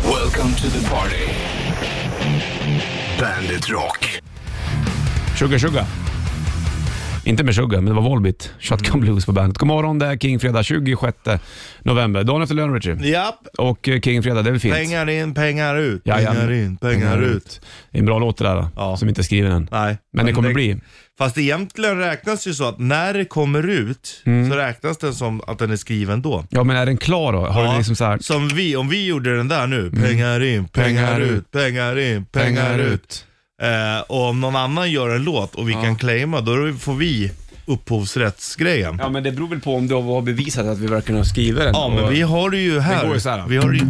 Welcome to the party. Bandit Rock. Sugar Sugar. Inte med Sugar, men det var Volbit. Mm. Shotgun Blues på bandet. God morgon, det är Kingfredag 26 november. Dagen efter lön, Richie. Japp, Och eh, Kingfredag, det är väl fint? Mm. pengar in, pengar ut. Jajamän. Pengar in, pengar ut. Det är en bra låt det där, Ja. som inte är skriven än. Nej. Men det kommer bli. Fast egentligen räknas ju så att när det kommer ut Mm. så räknas den som att den är skriven då. Ja, men är den klar då? Har Ja, du liksom så här... Mm. Som vi, om vi gjorde den där nu. Pengar in, pengar ut, pengar in, pengar ut. Eh, och om någon annan gör en låt och vi kan claima, då får vi upphovsrättsgrejen. Ja, Ja, men det beror väl på om du har bevisat att vi verkligen har skrivit den. men Och- vi har det ju här. Den går ju så här. Vi har det ju...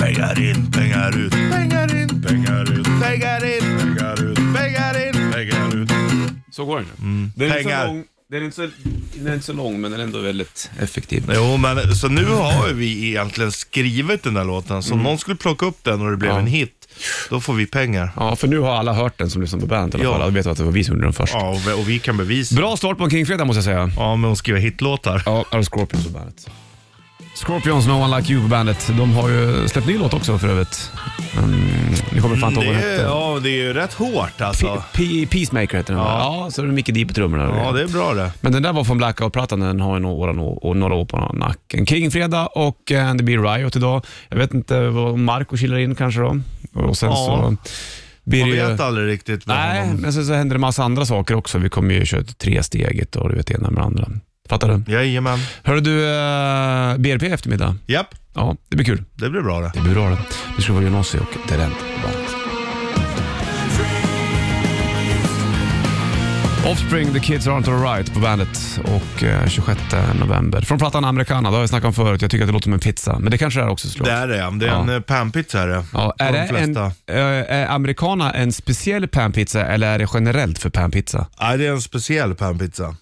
Pengar in, pengar ut, pengar in, pengar ut, pengar in, pengar ut, pengar in, pengar ut. Så går den ju. Den är inte så Mm. Pengar. lång, den är inte så, den är inte så lång, men den är ändå väldigt effektiv. Jo, men så nu har ju vi egentligen skrivit den där låten, så om någon skulle plocka upp den och det blev Mm. Ja. en hit, då får vi pengar. Ja, för nu har alla hört den som lyssnar på bandet i alla Ja. fall. Alla vet att det var vi som gjorde den först. Ja, och vi, och vi kan bevisa. Bra start på en Kingfredag måste jag säga. Ja, men att skriva hitlåtar. Ja, här har Scorpions på bandet. Scorpions No One Like You på bandet. De har ju släppt ny låt också för övrigt. Mm, ni kommer fan inte Det ihåg vad den är, hette. ja, det är ju rätt hårt alltså. Pe- Pe- Peacemaker heter den. Ja. Ja. ja, så är det Micke D på trummorna. Ja, det är bra det. Men den där var från Blackout-plattan, den har ju några, några, några år på nacken. Kingfredag och eh, det blir Riot idag. Jag vet inte vad Marco kilar in kanske då. Och sen Ja. så blir Man det ju... vet aldrig riktigt vad Nej, honom... men sen så händer det massa andra saker också. Vi kommer ju köra ett tresteget och du vet det ena med det andra. Fattar du? Jajamän. Hörru du, eh, BRP i eftermiddag. Japp, Ja, det blir kul. det blir bra det. Det blir bra det. Nu ska vi få Jonossi och Derent på bandet. Offspring, The Kids Aren't Alright på bandet och eh, 26 november. Från plattan Americana, det har jag snackat om förut. Jag tycker att det låter som en pizza, men det kanske det är också såklart. Det är det, det är Ja. en eh, panpizza är det. Ja, är På det de en, flesta. eh, är Americana en speciell panpizza eller är det generellt för panpizza? Nej, det är en speciell panpizza.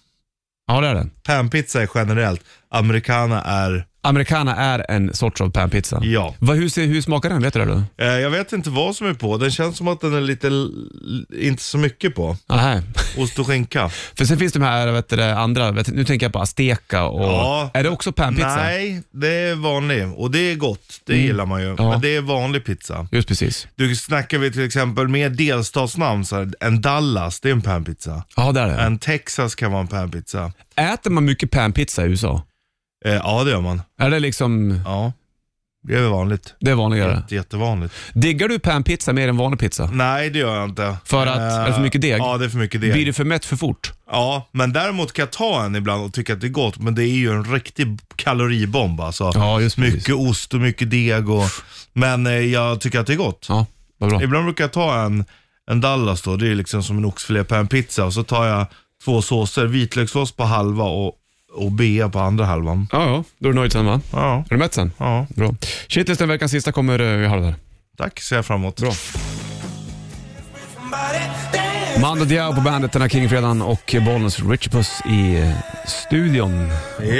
Ja, det är det. Panpizza är generellt, americana är... Americana är en sorts av panpizza. Ja. Vad- hur, ser- hur smakar den? Vet du det? Då? Eh, Jag vet inte vad som är på, den känns som att den är lite, l- inte så mycket på. Aha. Ost och skinka. För sen finns de här vet du, det, andra, vet, du, nu tänker jag på azteka och... Ja. Är det också panpizza? Nej, det är vanlig och det är gott, det gillar man ju. Mm. Ja. Men det är vanlig pizza. Just precis. Du snackar vi till exempel med delstatsnamn, så här, en Dallas, det är en panpizza. Ja, där är det. En Texas kan vara en panpizza. Äter man mycket panpizza i USA? Eh, ja, det gör man. Är det liksom, Ja, det är väl vanligt. det är vanligare? Jätte, jättevanligt. Diggar du panpizza mer än vanlig pizza? Nej, det gör jag inte. För att- Eh, är det för mycket deg? Ja, Mm, det är för mycket deg. Blir du för mätt för fort? Ja, men däremot kan jag ta en ibland och tycka att det är gott, men det är ju en riktig kaloribomb alltså. Ja, just precis. mycket ost och mycket deg och... Men eh, jag tycker att det är gott. Ja, vad bra. Ibland brukar jag ta en, en Dallas då, det är liksom som en oxfilé på en pizza. Och så tar jag två såser, vitlökssås på halva och, och bea på andra halvan. Ja, ja. Då är du nöjd sen va? Ja, Är du mätt sen? ja. Bra. Shitlisten veckans sista kommer eh, i halv där. Tack, ser jag fram emot. Bra. Mando Diao på bandet den här Kingfredagen och Bollnäs Richie Puss i eh, studion.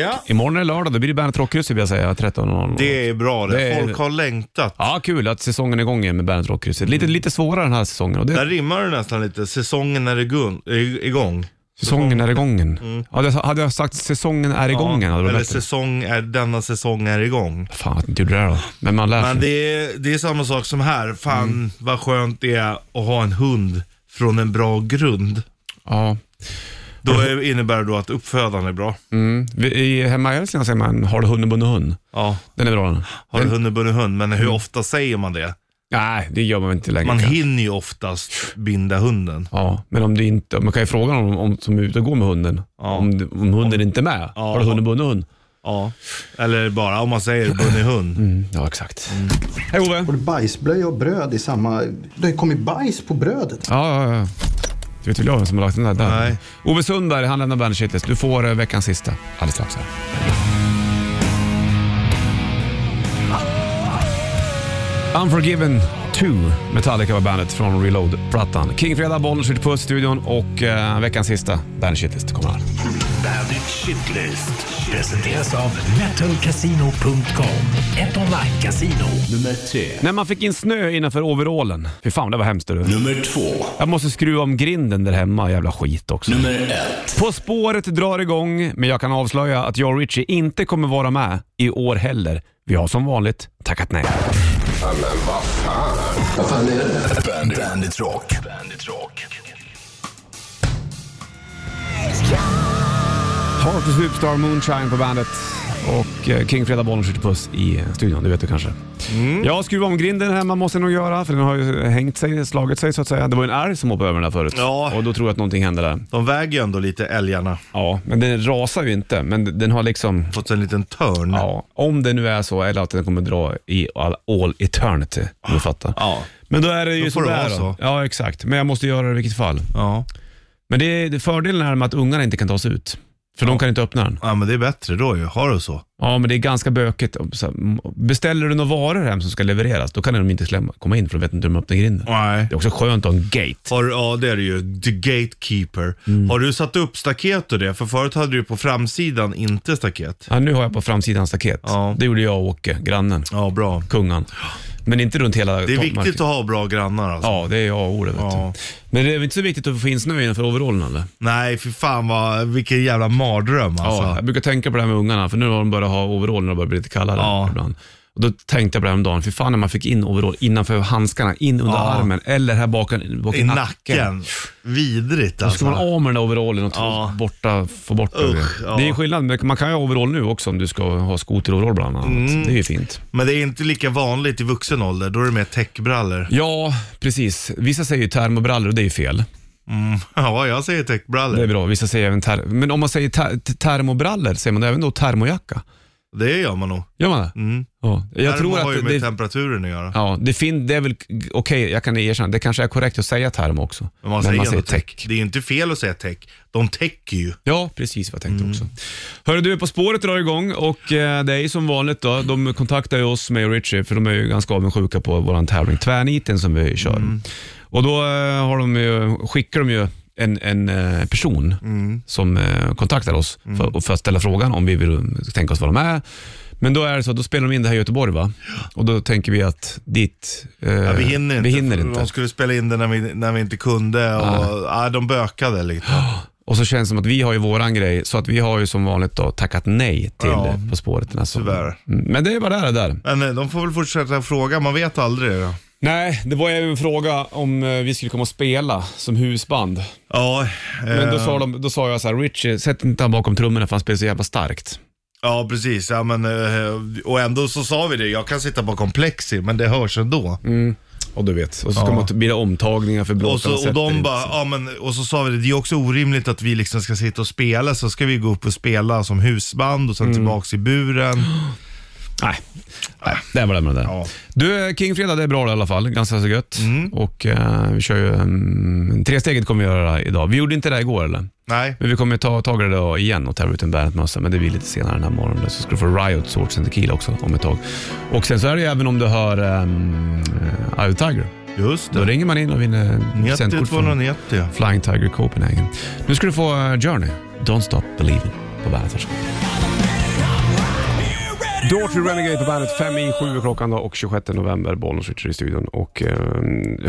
Ja. Imorgon är det lördag, då blir det bandet Rockkrysset vill jag säga, 13.00. Det är bra det. Det är- Folk har längtat. Ja, kul att säsongen är igång igen med bandet Rockkrysset. Lite, lite svårare den här säsongen. Och det, Där rimmar det nästan lite. Säsongen är igun- i- igång. säsongen är igången. Ja, det, hade jag sagt säsongen är igång ja, hade det Mm. Eller varit bättre. säsong är, denna säsong är igång. Fan att ni inte gjorde det här då. Men man lär sig. Men det är, det är samma sak som här. Fan vad skönt det är att ha en hund från en bra grund. Ja. Då är, innebär det då att uppfödaren är bra. Mm. Vi, i, hemma i Hälsingland säger man har du hunden bundit hund. Ja. Den är bra den. Har du hunden bunnit hund? Men Mm. hur ofta säger man det? Nej, det gör man inte längre. Man kanske. hinner ju oftast binda hunden. Ja, men om det inte, man kan ju fråga någon om, om, som är ute och går med hunden. Om, det- om hunden inte är med. Ja. Har du hunden bundit hund? Ja. Eller bara om man säger bunnit hund. Mm, Ja, exakt. Mm. Hej Ove. Både bajsblöja och bröd i samma... Det har ju kommit bajs på brödet. Ja, ja, ja. Du vet väl jag vem som har lagt den där? där. Nej. Ove Sundberg, han lämnar Bandit Shitlist. Du får eh, veckans sista alldeles strax här. Unforgiven 2, Metallica var bandet från Reload-plattan. Kingfredag, bollen skjuter på studion och eh, veckans sista Bandit Shitlist kommer här. Bandit Shitlist. Presenteras av metalcasino.com. Ett online-casino. Nummer tre. När man fick in snö innanför overallen. Fy fan, det var hemskt du. Nummer två. Jag måste skruva om grinden där hemma, jävla skit också. Nummer ett. På spåret drar igång, men jag kan avslöja att jag och Richie inte kommer vara med i år heller. Vi har som vanligt tackat nej. Bandit, Bandit Rock. Bandit Rock. Heart of Superstar Moonshine på bandet och eh, King Fredag Bollner skjuter puss i studion, det vet du kanske. Ja, skruva om grinden här, man måste nog göra för den har ju hängt sig, slagit sig så att säga. Det var ju en älg som hoppade över den där förut Ja. och då tror jag att någonting hände där. De väger ju ändå lite, älgarna. Ja, men den rasar ju inte, men den har liksom, Fått en liten törn. ja, om det nu är så eller att den kommer dra i all, all eternity, om du fattar. Ja. Men då är det ju Då får som det det är vara då. så. Ja, exakt. Men jag måste göra det i vilket fall. Ja. Men det är, det fördelen är med att ungarna inte kan ta sig ut. För de kan inte öppna den. ja, men det är bättre då ju. Har du så? Ja, men det är ganska bökigt. Så här, m- Beställer du några varor hem som ska levereras, då kan de inte slämma, komma in för de vet inte hur de öppnar grinden. Nej. Det är också skönt att ha en gate. Har, ja, det är det ju. The Gatekeeper. Mm. Har du satt upp staket och det? För förut hade du på framsidan inte staket. Ja, nu har jag på framsidan staket. Ja. Det gjorde jag och Åke, grannen, Ja, bra. kungan. Men inte runt hela Det är toppmarken. viktigt att ha bra grannar alltså. Ja, det är A och O det. Vet Ja. du. Men det är väl inte så viktigt att få in snö innanför overallen eller? Nej, för fan vad, vilken jävla mardröm alltså. Ja, jag brukar tänka på det här med ungarna, för nu har de börjat ha overall när det börjar bli lite kallare Ja. ibland. Och då tänkte jag på det här om dagen, för fan när man fick in overall innanför handskarna, in under Ja. armen eller här bak, bak I nacken. Vidrigt Då Alltså, ska man alltså. av med den där overallen och ta Ja. borta, få bort den. Usch, ja. Det är ju skillnad, men man kan ju ha overall nu också om du ska ha skoteroverall bland annat. Mm. Det är ju fint. Men det är inte lika vanligt i vuxen ålder. Då är det mer täckbrallor. Ja, precis. Vissa säger ju termobrallor och det är ju fel. Mm. Ja, jag säger Det är täckbrallor. bra. Vissa säger även ter- Men om man säger ter- t- termobrallor, säger man då även då termojacka? Det gör man nog. Gör man det? Ja. Jag Termo tror Mm. har ju att med det, temperaturen att göra. ja, det, fin- det är väl, okej, jag kan erkänna, det kanske är korrekt att säga termo också. Men man säger, ändå tech. täck. Det är ju inte fel att säga täck. De täcker ju. Ja, precis vad jag Mm. tänkte också. Hörru du, På spåret drar igång och eh, det är ju som vanligt då, de kontaktar ju oss, mig och Richie, för de är ju ganska avundsjuka på våran tävling Tvärniten som vi kör. Mm. Och då eh, har de ju, skickar de ju en, en eh, person Mm. som eh, kontaktar oss för, för att ställa frågan om vi vill tänka oss vad de är. Men då är det så att då spelar de in det här i Göteborg va? Och då tänker vi att dit... eh, Ja, vi hinner inte. Vi hinner för inte. De skulle spela in det när vi, när vi inte kunde. Och, ja, de bökade lite. Och så känns det som att vi har ju våran grej, så att vi har ju som vanligt då tackat nej till Ja, eh, På spåret. den här sommaren. tyvärr. Mm, Men det är bara där det där. Men eh, de får väl fortsätta fråga. Man vet aldrig. Ja, Nej, det var ju en fråga om eh, vi skulle komma och spela som husband. ja, Men eh, då sa, de, då sa jag så här, Richie, sätt inte han bakom trummorna för han spelar så jävla starkt. ja precis. Ja, men, eh, och ändå så sa vi det. Jag kan sitta bakom plexi, men det hörs ändå. Mm. Och du vet, och så ska Ja. man t- bli omtagningar för Och blåtarna så, och, sätter de inte bara, sig. ja, men, och så sa vi det, det är också orimligt att vi liksom ska sitta och spela, så ska vi gå upp och spela som husband och Mm. sen tillbaks i buren. Nej, nej, det var det med det där. Ja. Mm. Du, eh, King Fredag, det är bra i alla fall. Ganska så gött. Och eh, vi kör ju, um, tresteget kommer vi göra idag. Vi gjorde inte det igår eller? Nej, Men vi kommer ta tag i det då igen och tävla ut en Bandet-mössa, men det blir lite senare den här morgonen. Så ska du få Riot Swords and Tequila också om ett tag. Och sen så är det ju även om du hör um, Eye of Tiger. just Då det. ringer man in och vinner Nietti presentkort från 290. Flying Tiger Copenhagen. Nu ska du få eh, Journey, Don't Stop Believing på Bandet. Varsågod. Daughtry Renegade på bandet, 5 i 7 klockan då och 26 november, Bollnäs Richard i studion. Och, eh,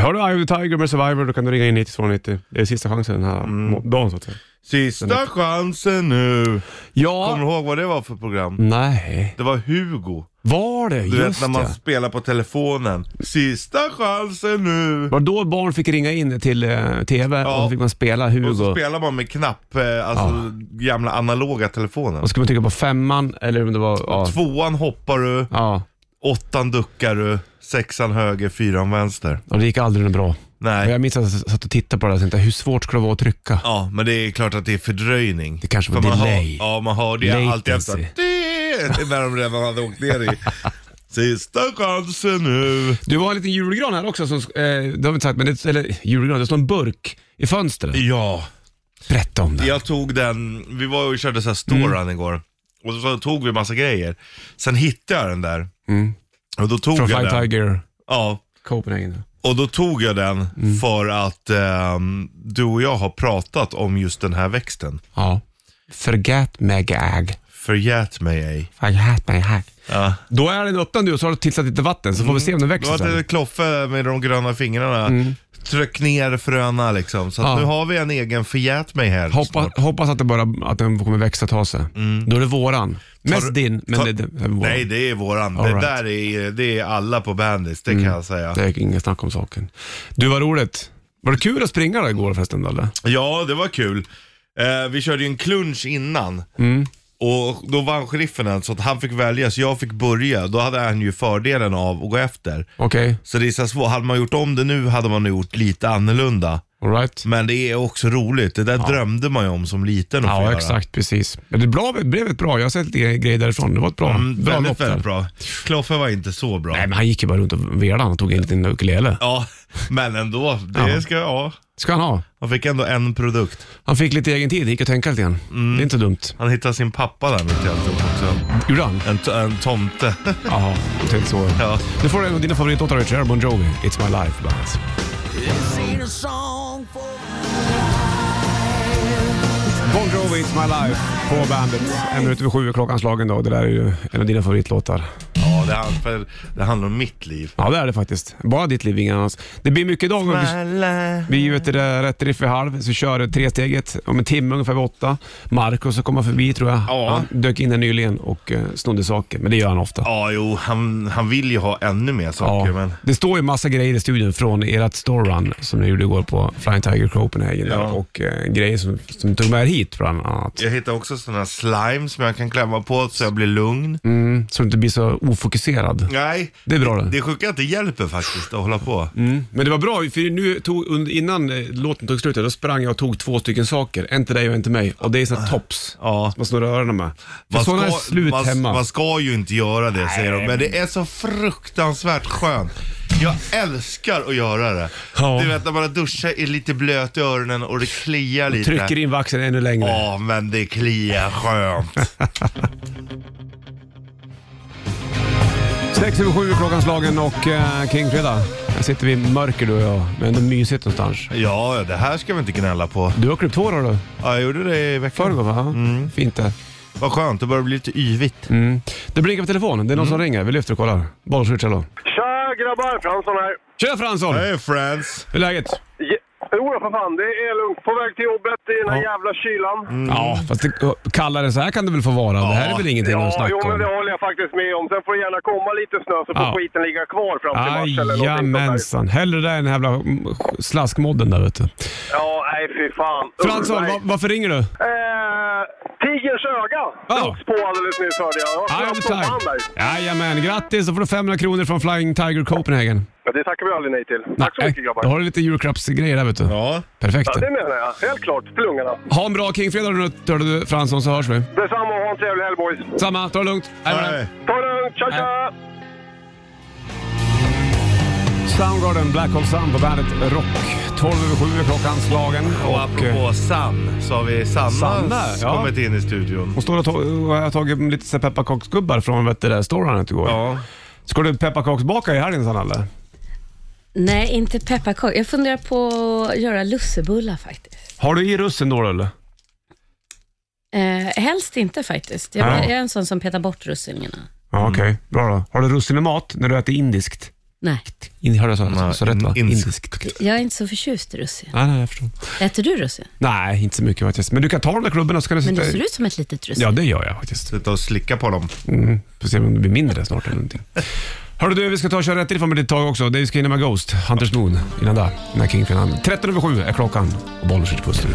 hör du Eye of the Tiger med Survivor, då kan du ringa in 9290. Det är sista chansen den här Mm. må- dagen så att säga. Sista chansen nu. Ja. Kommer du ihåg vad det var för program? Nej. Det var Hugo. Var det? Du Just vet när man det. spelar på telefonen. Sista chansen nu. Var det då barn fick ringa in till eh, TV och Ja. så fick man spela Hugo? Och Och så så, spelar man med knapp, eh, alltså gamla analoga telefonen. skulle man trycka på femman eller om det var... Ja. Tvåan hoppar du, ja. åttan duckar du, sexan höger, fyran vänster. Och det gick aldrig något bra. Nej. Och jag minns att jag satt och tittade på det och tänkte, hur svårt skulle det vara att trycka? Ja, men det är klart att det är fördröjning. Det kanske var För man delay. Hör, ja, man hör det alltid Latency. efter. Det- När de redan hade åkt ner i. Sista chansen nu. Du var en liten julgran här också, som, eh, det har vi inte sagt, men det, eller julgran, det står en burk i fönstret. Ja. Berätta om det. Jag tog den, vi var och körde så här Mm. storrun igår. Och så tog vi massa grejer. Sen hittade jag den där. Och då tog Mm. Från jag Flying den. Tiger, Ja. Copenhagen. Och då tog jag den Mm. för att ehm, du och jag har pratat om just den här växten. Ja. Forget me gag. Förgät mig ej. Forget me gag. Ja. Då är den öppen du och så har du tillsatt lite vatten, så får vi se om den Mm. Det växer. var sen. ett Kloffe med de gröna fingrarna tryck ner fröna liksom. Så att Mm. Ja. nu har vi en egen förgät mig här. Hoppas, hoppas att, det bara, att den kommer växa ta sig. Då är det våran. Mest du- din, men Mm. det, tar- det är våran. Nej, det är våran. All det right. Mm. där är, det är alla på Bandits, det kan jag säga. Det är inget snack om saken. Du, vad roligt. Var det kul att springa där igår förresten, eller? Ja, det var kul. Eh, vi körde ju en klunch innan. Mm. Och då vann sheriffen den, så att han fick välja, så jag fick börja. Då hade han ju fördelen av att gå efter. Okej, Så det är så svårt. Hade man gjort om det nu hade man gjort lite annorlunda. all alright. Men det är också roligt. Det där drömde man ju om som liten att få Ja, göra. exakt. Precis. Men det bra, det blev ett bra. Jag har sett lite grejer därifrån. Det var ett bra, Mm, bra lopp väldigt, där. väldigt bra. Kloffe var inte så bra. Nej, men han gick ju bara runt och velade. Han tog en liten ukulele. Ja, men ändå. Det Ja. ska jag ha. ska han ha. Han fick ändå en produkt. Han fick lite egen tid. gick och tänka lite grann. Mm. Det är inte dumt. Han hittade sin pappa där mitt i alltihop också. Gjorde han? En, t- en tomte. Jaha, jag tänkte så. Ja. Nu får du en av dina favoritlåtar, Richard Air, Bon Jovi. It's my life, bandet. Bon Jovi, It's my life på bandet. En minut över sju är klockan slagen då. Det där är ju en av dina favoritlåtar. ja, det, han, för det handlar om mitt liv. Ja, det är det faktiskt. Bara ditt liv, ingen annans. Det blir mycket idag. Vi- Vi vet det där, rätt riff i halv, så kör det tresteget. Om en timme ungefär vid åtta. Marcus ska komma förbi tror jag. Ja. Han dök in här nyligen och eh, snodde saker, men det gör han ofta. Ja, jo, han, han vill ju ha ännu mer saker, Ja, men... Det står ju massa grejer i studion från ert store run som ni gjorde igår på Flying Tiger Copenhagen där, Ja. och eh, grejer som, som ni tog med er hit bland annat. Jag hittade också sådana här slime som jag kan klämma på så jag blir lugn. Mm, så du inte blir så ofokuserad. Nej, Det är bra det. det är sjukt att det hjälper faktiskt att hålla på. Men det var bra, för nu tog, under- innan eh, låten tog slut, då sprang jag och tog två stycken saker. En till dig och en till mig. Och det är såna här tops Ah. Ja. som man snurrar öronen med. För sådana är slut man, hemma. man ska ju inte göra det säger de, men det är så fruktansvärt skönt. Jag älskar att göra det. Ja. Du vet när man duschar är lite blöt i öronen och det kliar lite. Trycker in vaxen ännu längre. Ja, men det kliar skönt. 6 över 7 klockan slagen och eh, Kingfredag. Här sitter vi i mörker du och jag, men ändå mysigt någonstans. ja, det här ska vi inte gnälla på. Du har klippt hår har du? Ja, jag gjorde det i veckan. Förrgår va? Mm. Fint det. Vad skönt, det börjar bli lite yvigt. Mm. Det blinkar på telefonen. Det är någon Mm. som ringer. Vi lyfter och kollar. Bollswitch, hallå. Tja grabbar, Fransson här. Tjena Fransson! Hej Friends! Hur är läget? Je- Jo, för fan, det är lugnt. På väg till jobbet i den här Ja. Mm, jävla kylan. Ja, fast det, kallare än så här kan det väl få vara? Det här är väl ingenting att Mm. Ja, snacka jo, men det om? håller jag faktiskt med om. Sen får det gärna komma lite snö så får Ja. skiten ligga kvar fram till mars eller någonting sånt där. Jajamensan. Hellre det än den här jävla mm, slaskmodden där vet du. Ja, nej fy fan. Fransson, Nej. va, varför ringer du? Eh, Tigerns öga Ja. drogs på alldeles nyss hörde jag. Jag var I'm snabbt som fan där. tired. Jajamän, grattis! Då får du 500 kronor från Flying Tiger Copenhagen. Men det tackar vi aldrig nej till. Tack så Nej, mycket grabbar. Då har du lite julklappsgrejer där vet du. Ja, Perfekt. Ja, det menar jag. Helt klart. Till ungarna. Ha en bra Kingfredag nu hör du Fransson så hörs vi. Detsamma och ha en trevlig helg boys. Samma, ta det lugnt. Hej med dig. hej. Ta det lugnt. Tja Äh, tja! Soundgarden, Black Hole Sun på bandet Rock. 12 över 7 är klockan slagen. Och eh, apropå Sam, så har vi Sanna, Sanna, ja. kommit in i studion. hon står och, tog, och jag har tagit lite så här pepparkaksgubbar från vet du, det där storandet igår. Ja. Ska du pepparkaksbaka i helgen Sanna eller? Nej, inte pepparkakor. Jag funderar på att göra lussebullar faktiskt. Har du i russin då eller? Eh, helst inte faktiskt. Jag, Ja. jag är en sån som petar bort russiningarna. Ja okej, bra då. Har du russin i mat när du äter indiskt? Nej, In, hörde jag så, så, Nej, så rätt va? in- indiskt. jag är inte så förtjust i russin. Nej, nej jag förstår. Äter du russin? Nej, inte så mycket faktiskt. Men du kan ta de där klubborna så kan du Men sitta... du ser ut som ett litet russin. Ja det gör jag faktiskt. Sitta och slicka på dem. Mm, Får se om det blir mindre snart eller någonting. Hörru du, vi ska ta och köra rätt ifrån med ett tag också. Det vi ska hinna med Ghost, Hunters Moon, innan det. Innan Kingfin 13 över 7 är klockan och bollen skjuter puss nu.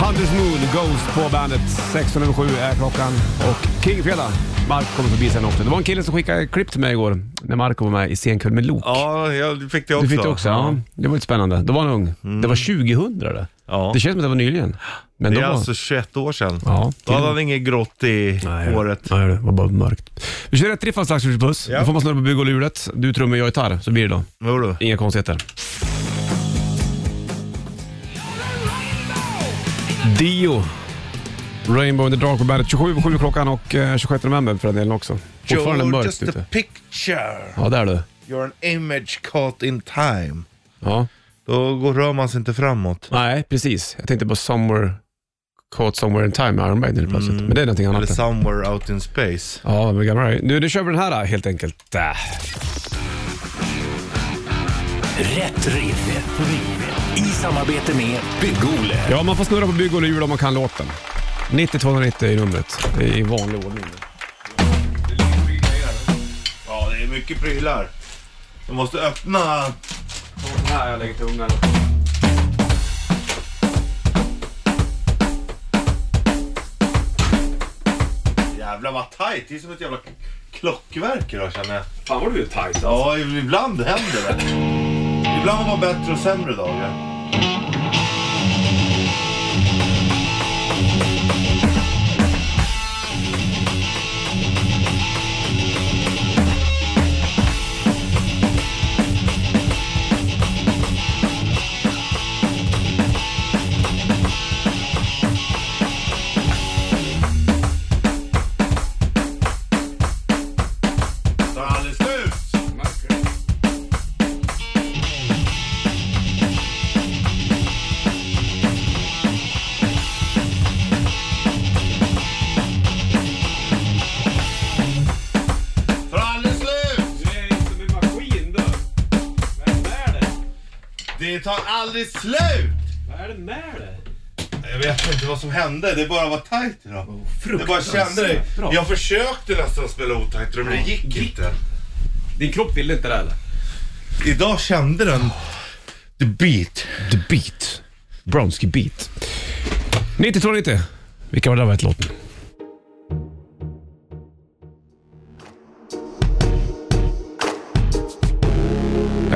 Hunters Moon, Ghost på bandet. 16 över 7 är klockan och Kingfredag. Mark kommer förbi sen också. Det var en kille som skickade klipp till mig igår när Marco var med i Scenkväll med Lok. Ja, jag fick det också. Du Mm. fick det också? Ja. Det var lite spännande. Då var han ung. Det var 2000 det. Ja. Det känns som att det var nyligen. Men Det då är var... alltså 21 år sedan. Ja, Då hade han inget grått i håret. Nej, det var bara mörkt. Vi kör rätt riff av slags puss. Ja. Då får man snurra på bygghjulet. Du trummor, jag gitarr. Så blir det då. Jo då. Inga konstigheter. Dio. Rainbow in the Dark på bandet. 27 på 7 klockan och eh, 26 november för den delen också. Fortfarande You're mörkt just a ute. picture. Ja, där du. You're an image caught in time. Ja. Då går, rör man sig inte framåt. Nej, precis. Jag tänkte på Somewhere Caught somewhere in time med Iron Maiden helt plötsligt. Men det är någonting Mm. Eller annat. Somewhere Out In Space. Ja, men gammal är Nu, nu kör vi den här helt enkelt. Äh. Rätt riff. Rätt riff. I samarbete med Bygg-Ole. Ja, man får snurra på bygg och hjul om man kan låten. 9290 är numret i vanlig ordning. Ja, det är mycket prylar. Jag måste öppna... Här jag lägger tungan. Jävlar vad tajt. Det är som ett jävla klockverk idag känner jag. Fan vad du är alltså. tajt. Ja, ibland händer det. Ibland har man bättre och sämre dagar. Tar aldrig slut! Tar aldrig slut! Det tar aldrig slut! Jag vet inte vad som hände, det bara var tajt idag. jag bara kände det. Oh, Bra. Jag försökte nästan spela otajt men det gick inte. Din kropp ville inte det eller? Idag kände den the beat. The Beat. Bronski Beat. 9290. Vilka var det där varit låten?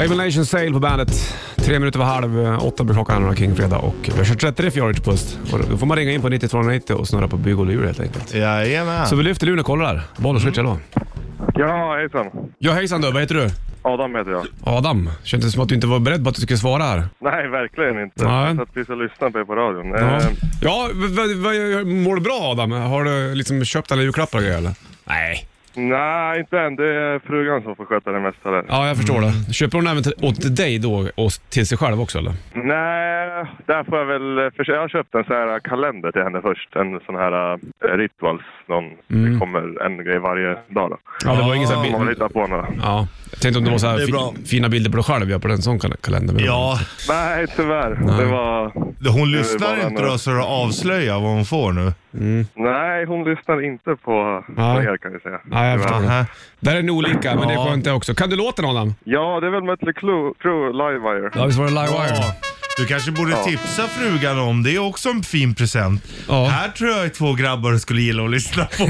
Able Nation Sale på bandet. Tre minuter över halv eh, åtta blir klockan här kring fredag och vi har kört 30 för Jorrit Puss. Och Då får man ringa in på 9290 och snurra på bygg och lur helt enkelt. Jajamän. Så vi lyfter luren och kollar. Bollers Rich, hallå. Ja, hejsan. Ja hejsan du, vad heter du? Adam heter jag. Adam. Kändes som att du inte var beredd på att du skulle svara här. Nej, verkligen inte. Nej. Jag satt precis och lyssnade på er på radion. Ja, Eh, ja v- v- v- mår du bra Adam? Har du liksom köpt alla julklappar och grejer eller? Nej. nej, inte än. Det är frugan som får sköta det mesta där. Ja, jag förstår det. Köper hon även till, åt dig då och till sig själv också eller? Nej, där får jag väl... För jag har köpt en sån här eh, kalender till henne först. En sån här eh, rituals. Någon, Mm. Det kommer en grej varje dag. Då. Ja, det var ingen sån här Man vill bild. hitta på några. Ja, jag tänkte om det var så här Det är fi- bra. fina bilder på dig själv jag på den sån kal- kalender. Men Ja, Nej, tyvärr. Det var... hon Det är lyssnar bara inte en- då så du avslöjar vad hon får nu. Nej, hon lyssnar inte på, på Nej. er kan vi säga. Nej, jag förstår det. Aha. Där är ni olika, men det Ja. är skönt det också. Kan du låten Adam? Ja, det är väl Mötley Crüe, Crüe Livewire. Ja, visst var det Ja. Livewire? Du kanske borde tipsa frugan om, det är också en fin present. Ja. Här tror jag två grabbar skulle gilla att lyssna på.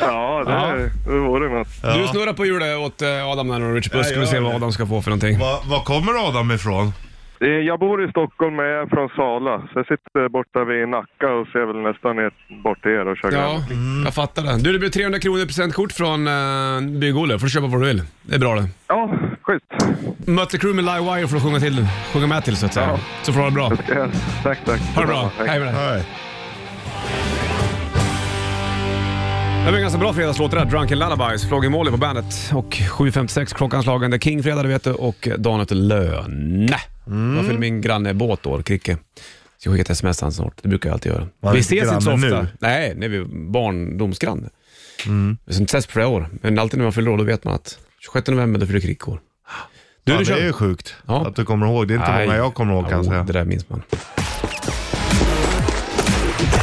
Ja, det, det vore något. Du snurrar på hjulet åt eh, Adam där och Richard Puss, ska vi gör se vad det. Adam ska få för någonting. Var, var kommer Adam ifrån? Eh, Jag bor i Stockholm men jag är från Sala. Så jag sitter borta vid Nacka och ser väl nästan ner bort till er och kör Ja, grann. jag fattar det. Du, det blir 300 kronor i presentkort från uh, Bygg-Olle. får du köpa vad du vill. Det är bra det. Ja, schysst. Mötley Crüe med Live Wire får du sjunga, till, sjunga med till så att säga. Ja. Så får du ha det bra. Ja, tack, tack. Ha det bra. Tack. Hej med dig. Nej. Det var en ganska bra fredagslåt det där. Drunken Lullabies, Floggy Molly på bandet. Och 7.56 klockanslagen. Det är King-fredag du vet du och dagen efter lön. Jag fyller min granne båt då, Kricke. Ska skicka ett sms han snart. Det brukar jag alltid göra. Var vi det ses inte så granne ofta. nu? Nej, när vi är barndomsgranne. Vi har inte setts på flera år. Men alltid när man fyller år, då vet man att 26 november, då fyller Kricke år. Du, Ja, du det kör. är ju sjukt Ja. att du kommer ihåg. Det är inte Nej. många jag kommer ihåg kan jag Jo, säga. Det där minns man.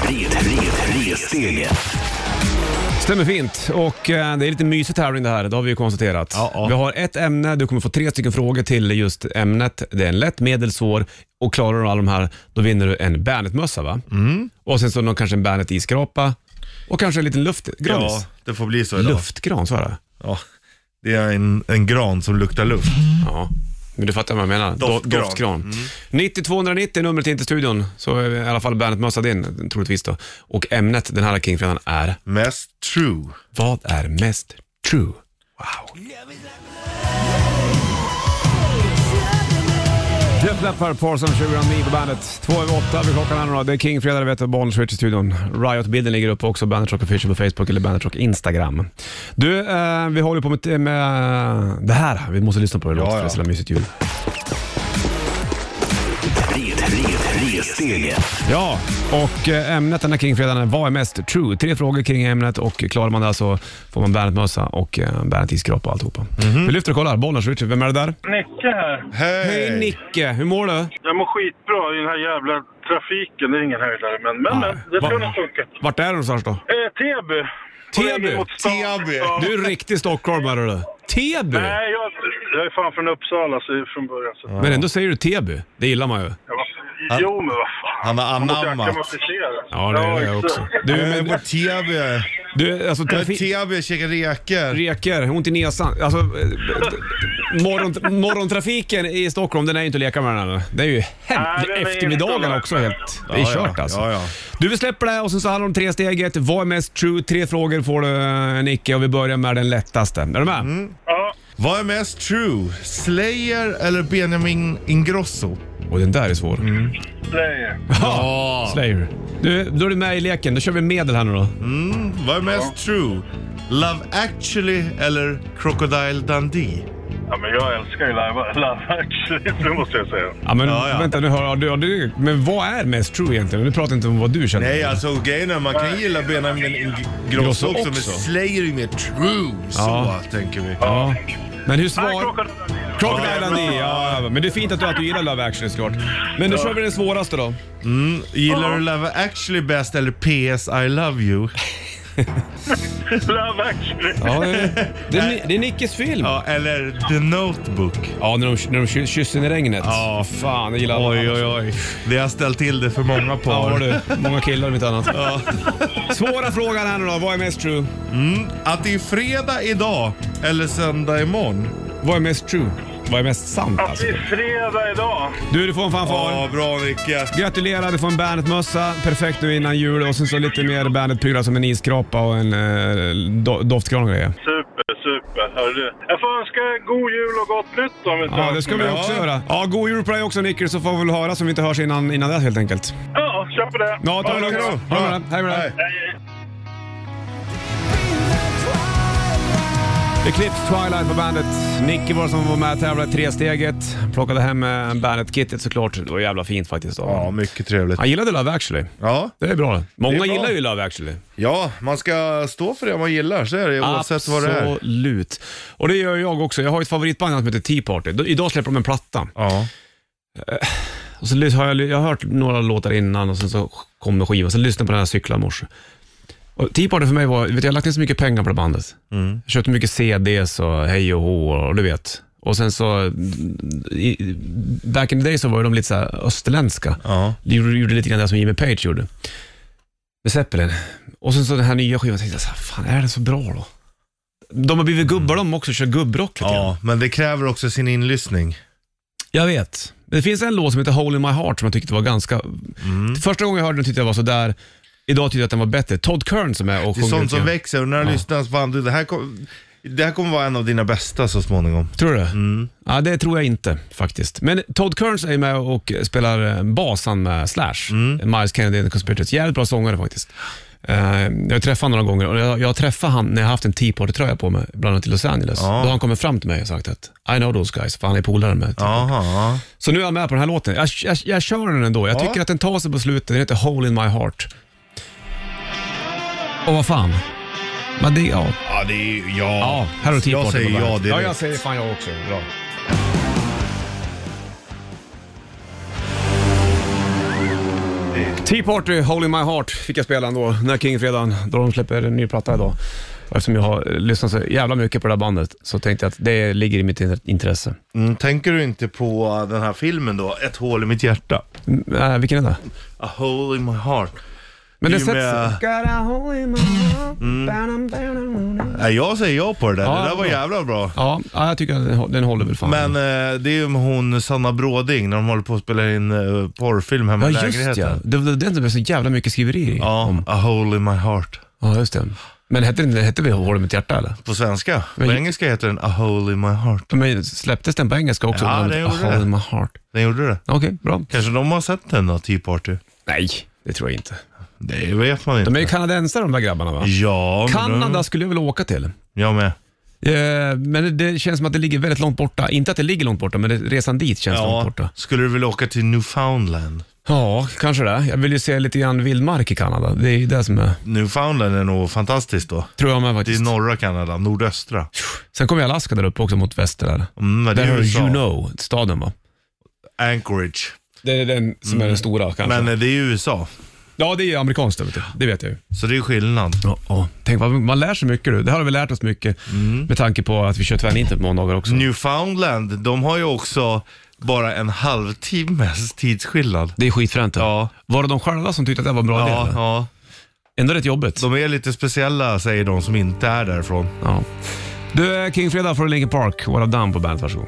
Red, red, ressteget. Stämmer fint och eh, det är lite mysigt tävling det här, det har vi ju konstaterat. Ja, ja. Vi har ett ämne, du kommer få tre stycken frågor till just ämnet. Det är en lätt, medelsvår och klarar du alla de här då vinner du en Bandet-mössa va? Mm. Och sen så någon, kanske en Bandet-iskrapa och kanske en liten Ja, luftgranis. det får bli så idag. Luftgran, så är det. Ja. Det är en, en gran som luktar luft. Ja, men du fattar vad jag menar. Do- Doftgran. Doftgran. 90-290 är numret in till studion, så är i alla fall Bandet-mössa din troligtvis då. Och ämnet den här kingfredagen är, Mest true. vad är mest true? Def Leppard, Parson 2009 på bandet. Två över åtta vid klockan här nu då. Det är King Fredag, du vet du, Bonniers Rich i studion. Riot-bilden ligger uppe också, Bandet Rock Official på Facebook eller Bandet Rock Instagram. Du, eh, vi håller på med, med det här. Vi måste lyssna på det, Ja, ja, ja. ja. mysigt ljud. Red, red, Tre steget. Ja, och eh, ämnet den här kringfredagen är Vad är mest true? Tre frågor kring ämnet och klarar man det så får man Bernet-mössa och eh, Bernet-isskrapa och alltihopa. Mhm. Vi lyfter och kollar. Bollnäs Richard, vem är det där? Nicke här. Hej! Hej Nicke, hur mår du? Jag mår skitbra i den här jävla trafiken. Det är ingen höjdare, men, men, men det Va- tror jag nog funkar. Vart är du någonstans då? Eh, Täby. På Täby? vägen mot stan. Täby. Ja. Du är en riktig stockholmare du. Täby? Nej, jag, jag är fan från Uppsala så från början. Så. Men ändå säger du Täby. Det gillar man ju. Jag var, jo, men vad fan. Han har Man måste anammat. öka massiverat. Ja, det är det exakt. också. Du, Jag är men, på TV. du alltså Jag är trafik... TV, käkar reker. Reker, ont i näsan. Alltså, eh, morgon, morgontrafiken i Stockholm, den är ju inte att leka med den här nu. Det är ju Nej, hem- den är eftermiddagen inte- också helt... Det är Ja, ja. kört alltså. Ja, ja. Du, vi släpper det här och sen så handlar det om tre steget. Vad är mest true? Tre frågor får du eh, Nicke och vi börjar med den lättaste. Är du med? Mm. Ja, Vad är mest true? Slayer eller Benjamin Ingrosso? Och den där är svår. Slayer. Mm. Ja. Slayer. Du, då är du med i leken. Då kör vi medel här nu då. Vad är mest true? Love actually eller Crocodile Dundee? Ja, men jag älskar ju Live, live Actually, det måste jag säga. Ja, men Ja, ja. vänta nu hör ja, du, ja, du, Men vad är mest true egentligen? Nu pratar inte om vad du känner. Nej, alltså grejen är man kan gilla Benjamin Ingrosso också, men Slayer är ju mer true. Så Ja. tänker vi. Ja. Men hur Nej, svar... klockan Crocodile Dundee, ja. ja. Men det är fint att du, att du gillar Love actually såklart. Men då kör vi den svåraste då. Gillar du Love actually bäst eller PS I love you? Live Actually. Ja, det, är, det, är, det är Nickes film. Ja, Ja, eller The Notebook. när de, när de ky- kysser i regnet. Ja. Fan, jag gillar Oj, oj, oj. Det har ställt till det för många par. Ja, du. Många killar om inte annat. Svåra frågan här nu då. Vad är mest true? Att det är fredag idag eller söndag imorgon. Vad är mest true? Vad är mest sant Att alltså? det är fredag idag. Du, du får en fanfar. Ja, bra Nicke. Gratulerar, du får en Bernet-mössa. Perfekt nu innan jul och sen så lite mer Bernet-prylar som en isskrapa och en eh, do, doftkran och grejer. Super, super. Hörru. Jag får önska god jul och gott nytt om inte Ja, annat. det ska vi också göra. Ja, god jul på dig också Nicke, så får vi väl höra som vi inte hörs innan, innan det helt enkelt. Ja, kör på det. Ja, ta det Ja, lugnt. hej då. Ha det bra. Hej med dig. Hej. Det klipps Twilight på bandet. Nicke var som var med och tävlade i tresteget. Plockade hem eh, bandet-kittet såklart. Det var jävla fint faktiskt av Ja, honom. mycket trevligt. Han gillade Love actually. Ja, Det är bra. Många Det är bra. gillar ju Love actually. ja, man ska stå för det man gillar, så är det oavsett vad det är. Absolut. Och det gör jag också. Jag har ett favoritband som heter Tea Party. Då- Idag släpper de en platta. Ja. Och så lys- har jag, ly- jag har hört några låtar innan och sen så kommer skivan. Sen lyssnade jag på den här cyklar i morse. Och Tea Party för mig var, vet du, jag har lagt ner så mycket pengar på det bandet. Mm. Jag köpte mycket CDs och hej och hå och du vet. Och sen så, i, back in the day så var ju de lite så här österländska. ja. De gjorde, gjorde lite grann det som Jimmy Page gjorde. Med Zeppelin. Och sen så den här nya skivan, tänkte jag så här, fan är den så bra då? De har blivit gubbar de också, kör gubbrock lite grann. ja, men det kräver också sin inlyssning. Jag vet. Men det finns en låt som heter Hole in my heart som jag tyckte var ganska... Mm. Första gången jag hörde den tyckte jag var sådär. Idag tyckte jag att den var bättre. Todd Kern som är och Det är sjunger sånt lite som grann. växer och när du lyssnar så fan, du, det här, kom, det här kommer vara en av dina bästa så småningom. Tror du det? Mm. Ja, det tror jag inte faktiskt. Men Todd Kerns är ju med och spelar eh, bas han med Slash. Mm. Miles Kennedy and the Conspirators. Jävligt bra sångare faktiskt. Eh, jag har träffat honom några gånger och jag, jag har träffat han när jag har haft en Tea Party-tröja på mig, bland annat i Los Angeles. Då har han kommit fram till mig och sagt att I know those guys, för han är polare med. Aha, ja. Så nu är han med på den här låten. Jag, jag, jag kör den ändå. Jag Ja. tycker att den tar sig på slutet. Den heter Hole in my heart. Och vad fan. Men det, ja. ja, det är ju- ja. ja, här har du Tea Jag Party på säger bandet. ja direkt. Ja, jag säger fan jag också. Bra. Tea Party, Hole in my heart, fick jag spela ändå när King-fredagen, då de släpper en ny platta idag. Och Eftersom jag har eh, lyssnat så jävla mycket på det här bandet så tänkte jag att det ligger i mitt in- intresse. Mm, tänker du inte på den här filmen då, Ett hål i mitt hjärta? Mm, Äh, vilken är det? A hole in my heart. Men I det och med- Mm. sätts... Nej, jag säger ja på det där. Ja, det där var bra. jävla bra. Ja, ja, jag tycker att den, hå- den håller väl fan. Men eh, det är ju med hon Sanna Bråding när de håller på att spela in eh, porrfilm ja, hemma i just ja. lägenheten. Det var den som det blev så jävla mycket skriverier i. Ja, A hole in my heart. ja, just det. Men hette, den- hette vi Hål i mitt hjärta eller? På svenska. På Men- engelska heter den A hole in my heart. Men släpptes den på engelska också? Ja, Den- det gjorde A Hole det. in my heart. Den gjorde det. Okej, bra. Kanske de har sett den då, Tea Party? Nej, det tror jag inte. Det vet man inte. De är ju kanadensare de där grabbarna va? Ja, men Kanada skulle jag vilja åka till. de- Jag med. Eh, Men det- det känns som att det ligger väldigt långt borta. Inte att det ligger långt borta, men det- resan dit känns långt Ja, borta. skulle du vilja åka till Newfoundland? Ja, kanske det. Jag vill ju se lite grann vildmark i Kanada. Det är ju det som är, Newfoundland är nog fantastiskt då. tror jag med Det är faktiskt. norra Kanada, nordöstra. Sen kommer jag Alaska där uppe också mot väster där. Mm, men det Där är har du USA. You know, staden va? Anchorage. Det är den som är den stora kanske. Men eh, det är USA, ja, det är amerikanskt det vet, jag. det vet jag ju. så det är skillnad. Ja, ja. Tänk vad man lär sig mycket du. Det här har vi lärt oss mycket Mm. med tanke på att vi kör tvärniten på måndagar också. Newfoundland, de har ju också bara en halvtimmes tidsskillnad. Det är skitfränt. Ja. Var det de själva som tyckte att det var en bra idé? Ja, eller? ja. Ändå rätt jobbigt. De är lite speciella säger de som inte är därifrån. Ja. Du, King Fredag från Linkin Park. What I've Done på bandet. Varsågod.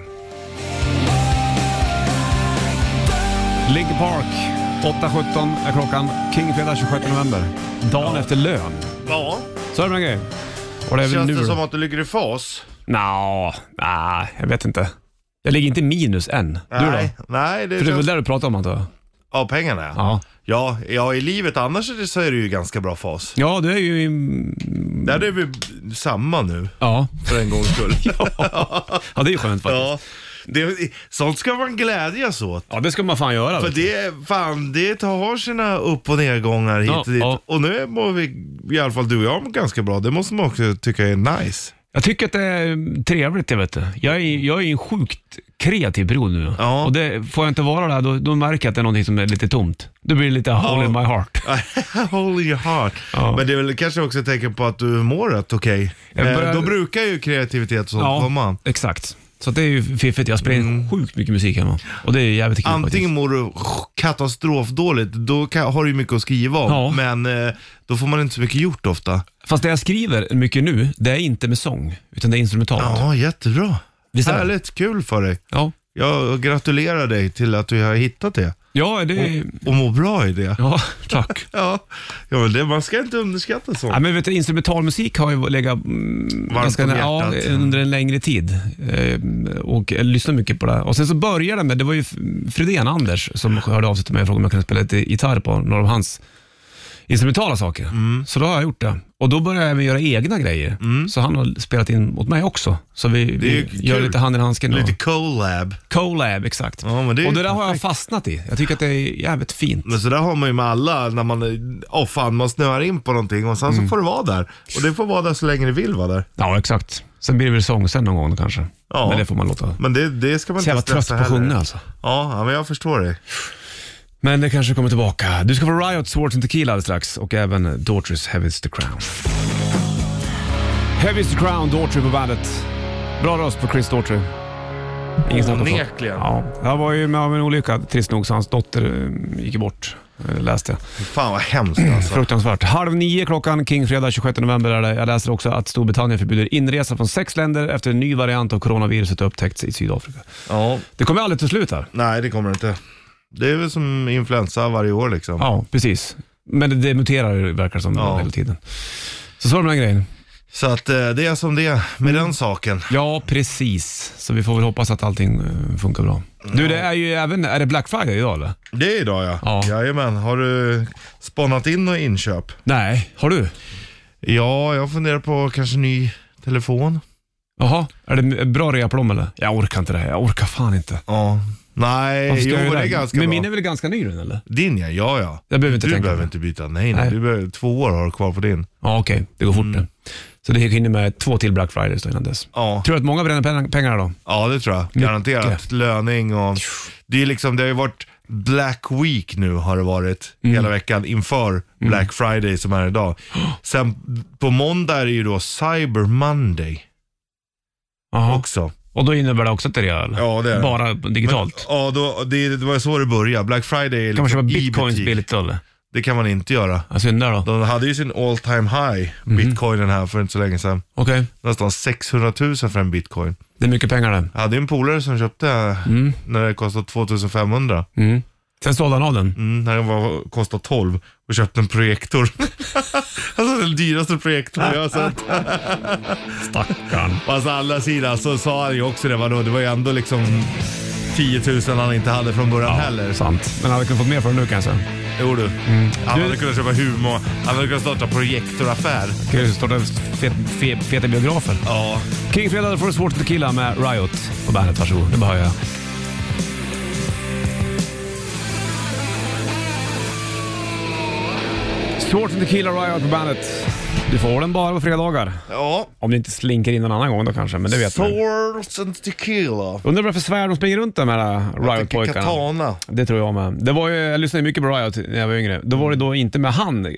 Linkin Park. 8.17 är klockan. King Fredag 26 november. Dagen efter lön. Ja, Så är det med en grej. Och det är väl känns nu... det som att du ligger i fas? Nå, nej, jag vet inte. Jag ligger inte i minus än. Du då? Nej, nej det För det är väl känns... det du pratar om antar jag? Ja, pengarna ja. Ja. ja. Ja, i livet annars är det- så är det ju ganska bra fas. Ja, du är ju i... Där är vi samma nu, Ja. för en gångs skull. ja, det är ju skönt faktiskt. Ja. ja. Det, sånt ska man glädjas åt. det ska man fan göra. För vet du. det, fan, det har sina upp och nedgångar hit Ja, och dit. ja. Och nu mår vi, i alla fall du och jag, ganska bra. Det måste man också tycka är nice. Jag tycker att det är trevligt, jag vet du. Jag är, jag är i en sjukt kreativ period nu. Ja. Och det, får jag inte vara där, då, då märker jag att det är någonting som är lite tomt. Då blir det lite hole in my heart. Holy your heart. Ja. Men det är väl kanske också ett tecken på att du mår rätt okej. Jag börjar- Eh, Då brukar ju kreativitet och sånt komma. exakt. Så det är ju fiffigt. Jag spelar in sjukt mycket musik hemma. Och det är ju jävligt kul Mm. Antingen faktiskt. mår du katastrofdåligt, då kan, har du ju mycket att skriva om. Ja. Men eh, då får man inte så mycket gjort ofta. Fast det jag skriver mycket nu, det är inte med sång, utan det är instrumentalt. Ja, jättebra. Visst är det? Härligt, kul för dig. Ja, Jag gratulerar dig till att du har hittat det ja det... och mår bra i det. Ja, tack. Ja, ja men det, man ska inte underskatta sånt. Ja, men vet du, instrumentalmusik har ju legat mm, Varmt ganska om nä- ja, hjärtat. under en längre tid Ehm, och jag lyssnar mycket på det. Och Sen så började det med, det var ju F- Fredén Anders som hörde av sig till mig och frågade om jag kunde spela lite gitarr på några av hans instrumentala saker. Mm. Så då har jag gjort det. Och då började jag även göra egna grejer. Så han har spelat in åt mig också. Så vi, Det är ju vi gör kul. lite hand i handsken. och- Lite collab. Colab, exakt. Ja, men det är och det ju där har jag fastnat i. Jag tycker att det är jävligt fint. Men så där har man ju med alla, när man, åh fan, man snöar in på någonting och sen Mm. så får det vara där. Och det får vara där så länge det vill vara där. Ja, exakt. Sen blir det väl sång sen någon gång då kanske. Ja. Men det får man låta. Men det, det ska man Så jävla inte trött på stressa att heller. sjunga alltså. Ja, ja, men jag förstår dig. Men det kanske kommer tillbaka. Du ska få Riot, Swords and Tequila alldeles strax och även Daughtry's Heavy's the Crown. Heavy's the Crown, Daughtry på bandet. Bra röst på Chris Daughtry. Ingen snack om saken. Onekligen. Ja, jag var ju med om en olycka, trist nog, så hans dotter eh, gick bort, eh, läste jag. Fan vad hemskt alltså. Fruktansvärt. Halv nio klockan, Kingfredag 26 november är det. Jag läser också att Storbritannien förbjuder inresa från sex länder efter en ny variant av coronaviruset upptäckts i Sydafrika. Ja. Det kommer aldrig till slut här. Nej, det kommer det inte. Det är väl som influensa varje år liksom. Ja, precis. Men det, det muterar ju, verkar det som Ja. hela tiden. Så så är det med den grejen. Så att eh, det är som det är med Mm. den saken. Ja, precis. Så vi får väl hoppas att allting eh, funkar bra. Mm. Du, det är ju även, är det Black Friday idag eller? Det är idag ja. Ja. Jajamän. Har du spannat in några inköp? Nej, har du? Ja, jag funderar på kanske ny telefon. Jaha, är det en bra reaplom eller? Jag orkar inte det här, jag orkar fan inte. Ja. Nej, Varför ska Eh, jag jo göra det är här? ganska Men bra. min är väl ganska ny den eller? Din ja, ja ja. Jag behöver inte du tänka på behöver det. inte byta, nej, nej. Nej. Du behöver, två år har du kvar på din. Ja, okej. Det går fort det. Så det hinner med två till Black Fridays då innan dess. Mm. Ja, Tror du att många bränner pen- pengar då? ja det tror jag. Garanterat. Löning och... Det, är liksom, det har ju varit Black Week nu har det varit Mm. hela veckan inför Black Friday som är idag. Sen på måndag är det ju då Cyber Monday Jaha. Och, också. då innebär det också att det är real? Ja, det är det. Bara digitalt? Men, ja, då, det, det var ju så det började. Black Friday är kan man köpa liksom i bitcoins butik. billigt då eller? Det kan man inte göra. Jag syndar då. De hade ju sin all time high, bitcoinen här för inte så länge sedan. Okej. Nästan 600 000 för en bitcoin. Det är mycket pengar det. Jag hade ju en polare som köpte när det kostade 2500. Mm. Sen sålde han av den. Mm, när den var, kostade 12 och köpte en projektor. alltså den dyraste projektorn jag har sett. Stackarn. Och alltså å andra sidan så sa han ju också det, vadå, det var ju ändå liksom 10 000 han inte hade från början heller. Mm. Sant. Men han hade kunnat fått mer för den nu kanske. Jo du. Han hade kunnat köpa humor, han hade kunnat starta projektoraffär. Kan ju starta fet, fe, feta biografer. Ja. Kingfredag får du svårt att killa med Riot på bandet. Varsågod, det behöver jag. Shorts and Tequila Riot på bandet. Du får den bara på fredagar. Ja. Om det inte slinker in någon annan gång då kanske, men det vet man. Swords and tequila. Undrar varför svär de springer runt de här äh, Jag tänker Riot-pojkarna. Katana. Det tror jag med. Det var ju, jag lyssnade ju mycket på Riot när jag var yngre. Då var det då inte med han, eh,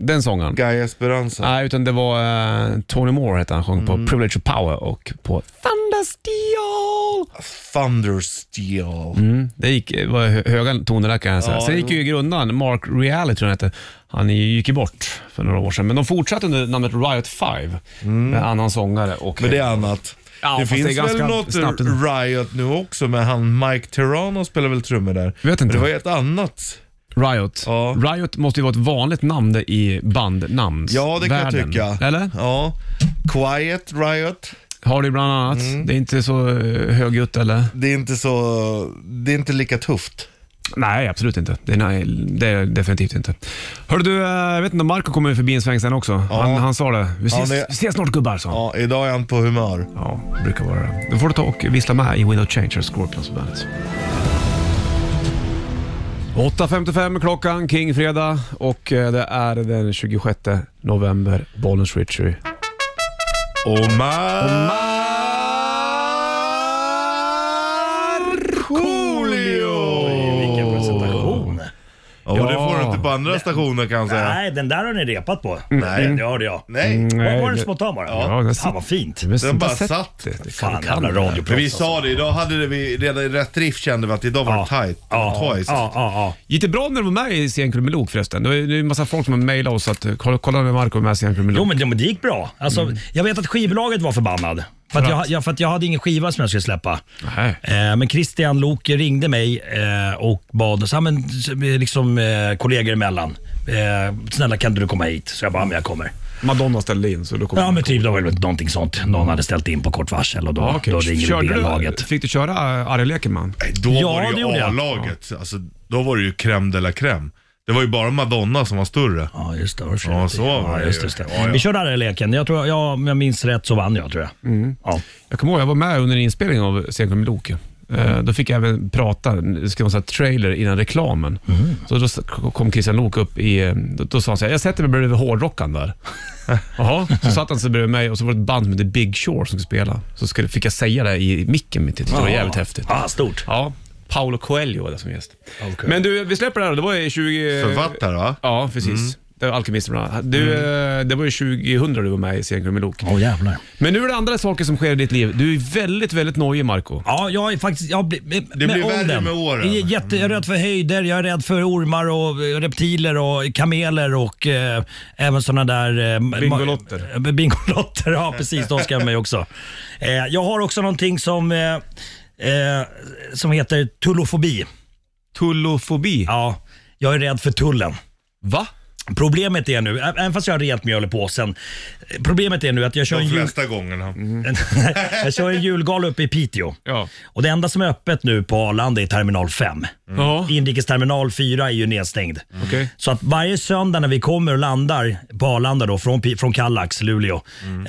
den sångaren. Guy Esperanza. Nej, utan det var eh, Tony Moore hette han, sjöng Mm. på Privilege of Power och på Thundersteel. Thundersteel. Mm. Det gick, det var hö- höga toner där kan jag säga. Ja, Sen gick ju grundaren, Mark Reale tror jag han hette, han gick ju bort för några år sedan. Men de fortsatte under namnet Riot 5 med annan sångare. Och, Mm. Men det är annat. Ja, det fast det är finns väl ganska något snabbt ändå. Riot nu också med han Mike Terrano spelar väl trummor där. Vet inte. Men det var ju ett annat. Riot. Ja. Riot måste ju vara ett vanligt namn där i bandnamnsvärlden. Ja, det kan jag tycka. Eller? Ja. Quiet Riot. Har det bland annat. Mm. Det är inte så eh, högljutt eller? Det är inte så, det är inte lika tufft. Nej, absolut inte. Det är, nej, det är definitivt inte. Hörru du, eh, jag vet inte om Marco kommer förbi en sväng sen också. Han, han sa det. Vi ses, det- vi ses snart gubbar, sa han. Ja, idag är han på humör. Ja, det brukar vara det. Då får du ta och vissla med i Window Changer, Scorpions på bandet. 8.55 är klockan, King-fredag och eh, det är den 26 november, Bollens Ritchie. Och Markoolio! Vilken presentation. Ja, och det får du inte på andra stationer kan jag säga. Nej, den där har ni repat på. Mm. Nej. Det hörde jag. Nej. Var var den det- spontan bara? Ja, den Fan vad fint. Men Den bara sätt- satt. Det, det kan, Fan kan jävla det här. radioproffs. Men vi sa det, idag hade det vi redan i rätt drift kände vi att idag var det tight. alltså. Ja, Twice. ja, ja, Gick det bra när du var med i Scenklubben med Lok förresten? Det är det är en massa folk som har mejlat oss att eh, kolla, kolla när Marco är med i Scenklubben med Jo Lok. men, jo, men det gick bra. Alltså, Mm. Jag vet att skivbolaget var förbannad. För att, jag, jag, för att jag hade ingen skiva som jag skulle släppa. Nej. Eh, men Christian Lok ringde mig eh, och bad, så, här, men, liksom, eh, kollegor emellan. Eh, snälla kan inte du komma hit? Så jag bara, "Ja, men jag kommer. Madonna ställde in så då kom Ja men typ, det var väl någonting sånt. Någon hade ställt in på kort varsel och då, Ja, okej. då ringer Körde du du- B-laget. Fick du köra eh, Arje Lekerman? Nej, Då Ja, var det det ju gjorde jag. A-laget. Alltså, då var det ju crème de la crème. Det var ju bara Madonna som var större. Ja, just det. varför Ja, inte? så var det just ju. det, just det. Ja, ja. Vi körde den här leken. Jag tror, ja, om jag minns rätt så vann jag, tror jag. Ja. Jag kommer ihåg, jag var med under en inspelning av Scenklubben med Lok. Eh, Mm. Då fick jag även prata, det ska man säga, trailer innan reklamen. Mm. Så då s- kom Christian Lok upp i, eh, då, då sa han så här, jag sätter mig bredvid hårdrockaren där. Jaha, så satt han sig bredvid mig och så var det ett band som hette Big Shore som skulle spela. Så skulle, fick jag säga det i micken mitt i, det var jävligt häftigt. Ja, stort. Ja, Paolo Coelho var det som gäst. Okej. Men du, vi släpper det här. Det var ju 20... Eh, Författare va? Ja, precis. Mm. Det var Alkemisten bland annat. Du, eh, Det var ju 2000 du var med i Scenklubben med Lok. Åh jävlar. Men nu är det andra saker som sker i ditt liv. Du är väldigt, väldigt nojig Marco Ja, jag är faktiskt... Jag blir, Det blir värre med åren. Jag är, jätte, jag är rädd för höjder, jag är rädd för ormar och eh, reptiler och kameler och eh, även sådana där... Eh, ma- Bingolotter. eh, Bingolotter, ja precis. De skrämmer mig också. Eh, jag har också någonting som, eh, eh, som heter tullofobi. Tullofobi. Ja, jag är rädd för tullen. Va? Problemet är nu, ä- även fast jag har rent mjöl i påsen, problemet är nu att jag kör, en, De jul, flesta gångerna. Mm. jag kör en julgala uppe i Piteå. Ja. Och det enda som är öppet nu på Arlanda är terminal 5. Ja, Inrikesterminal 4 är ju nedstängd. okej. Så att varje söndag när vi kommer och landar på Arlanda då, från, Pi- från Kallax, Luleå, Mm.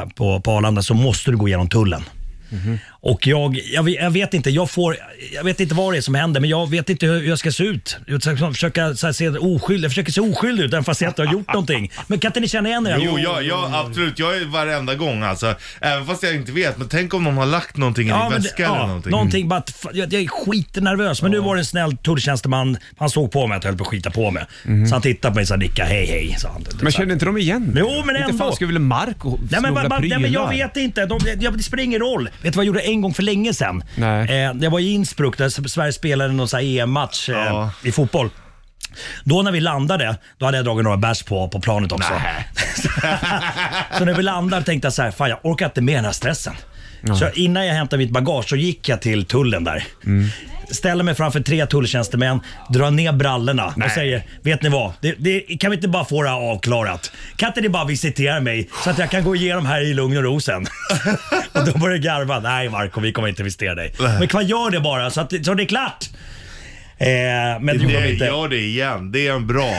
eh, på, på Arlanda så måste du gå igenom tullen. Mhm. Och jag, jag, vet- jag vet inte, jag får, jag vet inte vad det är som händer men jag vet inte hur jag ska se ut. Jag ska liksom försöka så här, se oskyldig, jag försöker se oskyldig ut även fast jag inte har gjort någonting. Men kan inte ni känna igen er? Jo, jag, jag, absolut. Jag är varenda gång alltså. Även fast jag inte vet. Men tänk om någon har lagt någonting i din men väska det- eller ja, någonting. någonting bara att, fa- jag, jag är skitnervös. Men nu var det en snäll tulltjänsteman. Han såg på mig att jag höll på att skita på mig. Mhm. Så han tittade på mig och sa Nicka hej hej. Sa han. Men känner inte de igen dig? Jo, men Inte ändå. fan skulle väl Marco Nej men, snubbla bara, bara, nej men jag prylar? vet inte. De, jag, det spelar ingen roll. Vet du vad jag gjorde en gång för länge sedan? Nej. Eh, jag var i Innsbruck där S- Sverige spelade någon sån här EM-match eh, Ja. i fotboll. Då när vi landade, då hade jag dragit några bärs på, på planet också. så när vi landade tänkte jag så här, fan jag orkar inte med den här stressen. Så innan jag hämtade mitt bagage så gick jag till tullen där. Ställer mig framför tre tulltjänstemän, drar ner brallorna och säger, vet ni vad? Det, det, kan vi inte bara få det här avklarat? Kan inte ni bara visitera mig så att jag kan gå igenom här i lugn och ro sen? och då börjar jag garva. Nej Marco, vi kommer inte visitera dig. Men kvar gör det bara så, att, det- så det är klart. Eh, men det gjorde de det, inte. gör det igen. Det är en bra.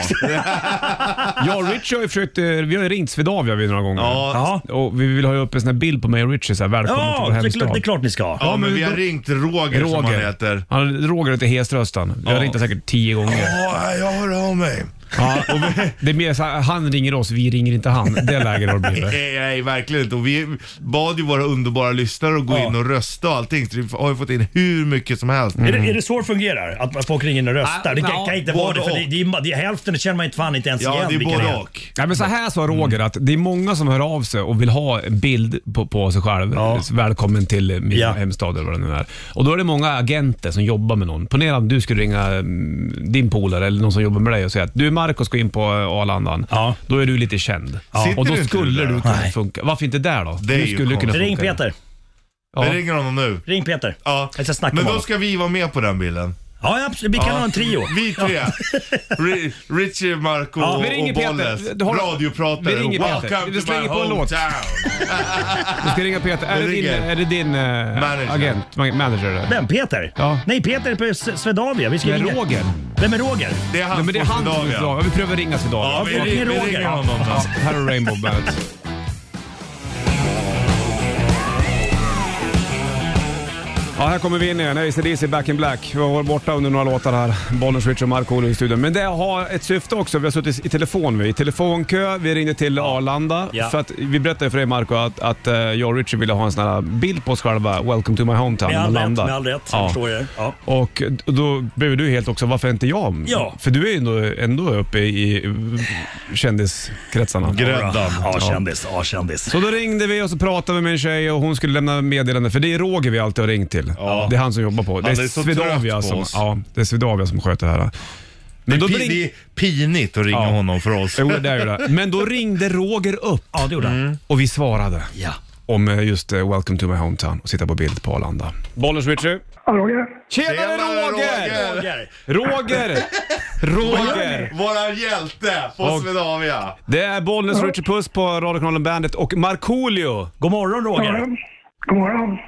Jag och Richie har ju försökt, eh, vi har ju ringt Swedavia vid några gånger. Ja. Ja, Och vi vill ha upp en sån här bild på mig och Richie, så här, välkommen till ja vår det, är klart, hemstad. det är klart ni ska. Ja, men men vi har då- ringt Roger, som han Roger. heter. Han, Roger heter Hesröstan. Vi har ringt honom säkert tio gånger. Ja, jag hör av mig. Ja, och vi, det är mer så här, han ringer oss, vi ringer inte han. Det läget har det blivit. Nej, nej, verkligen inte. Och vi bad ju våra underbara lyssnare att gå Ja. in och rösta och allting. Så vi har ju fått in hur mycket som helst. Mm. Är, det, är det så det fungerar? Att man- folk ringer in och röstar? Det kan, kan inte vara det, för det, det, är- det, är- hälften känner man inte fan inte ens Ja, igen det är vilka både och. Nej, men så här sa Roger Mm. att det är många som hör av sig och vill ha en bild på, på sig själv. Ja. Välkommen till min Ja. hemstad eller vad det nu är. Och då är det många agenter som jobbar med någon. Ponera att du skulle ringa mm, din polare eller någon som jobbar med dig och säga att du Marcus ska in på eh, Arlandan. Ja. Då är du lite känd. Sitter Och då du inte skulle där du då? kunna Nej. funka. Varför inte där då? Det är du ju skulle kunna konstigt. Ring funka. Peter. Ja. Vi ringer honom nu. Ring Peter. Ja. Jag ska snacka med Men då honom. ska vi vara med på den bilden. Ja, ja, absolut. Vi kan Ja. ha en trio. Vi tre. Ri- Richie, Marco Ja, vi ringer och Peter. Bolles. Du har- Radiopratare. Vi ringer Peter. Welcome Vi to slänger my på en låt. hometown. Du ska ringa Peter. Är Jag det din, ringer. är det din eh, agent? Ma- Manager? eller? Vem? Peter? Ja. Nej, Peter är på S- Swedavia. Vi ska Nej, ringa- Roger. Vem är Roger? Det är han Nej, men det är på han som Swedavia. Ja, Vi prövar ringa Swedavia. Ja, vi, Fucking ring, vi Roger. ringer honom då. Ja, här har Rainbow Bandet. Ja, här kommer vi in igen. ACDC Back in Black. Vi har varit borta under några låtar här. Bollnäs, Richard och Markoolio i studion. Men det har ett syfte också. Vi har suttit i telefon. Vi. I telefonkö. Vi ringde till Arlanda. Ja. För att, vi berättade för dig Marco att, att eh, jag och Richard ville ha en sån här bild på oss själva. Welcome to my hometown. Med när all man rätt, landar. med all rätt. Jag Ja. förstår jag. Ja. Och då blev du helt också, varför inte jag? Ja. För du är ju ändå, ändå uppe i eh, kändiskretsarna. Gräddan. Ja, kändis. Ja, kändis. Så då ringde vi och så pratade vi med en tjej och hon skulle lämna meddelande för det är Roger vi alltid har ringt till. Ja. Det är han som jobbar på. Det Han är så trött på som, oss. ja, det är Swedavia som sköter det här. Men då Pi- ring- Det är pinigt att ringa Ja. honom för oss. Jo, det är ju det. Men då ringde Roger upp Ja, det gjorde han. Mm. och vi svarade Ja. om eh, just eh, Welcome to my hometown och sitta på bild på Arlanda. Bollers Richie. Tjenare Tjenare, Roger! Roger! Roger. Roger! Roger! Våran hjälte på Och- Swedavia. Det är Bollnäs Richie Puss på radiokanalen Bandet och Markoolio. God morgon Roger. God morgon.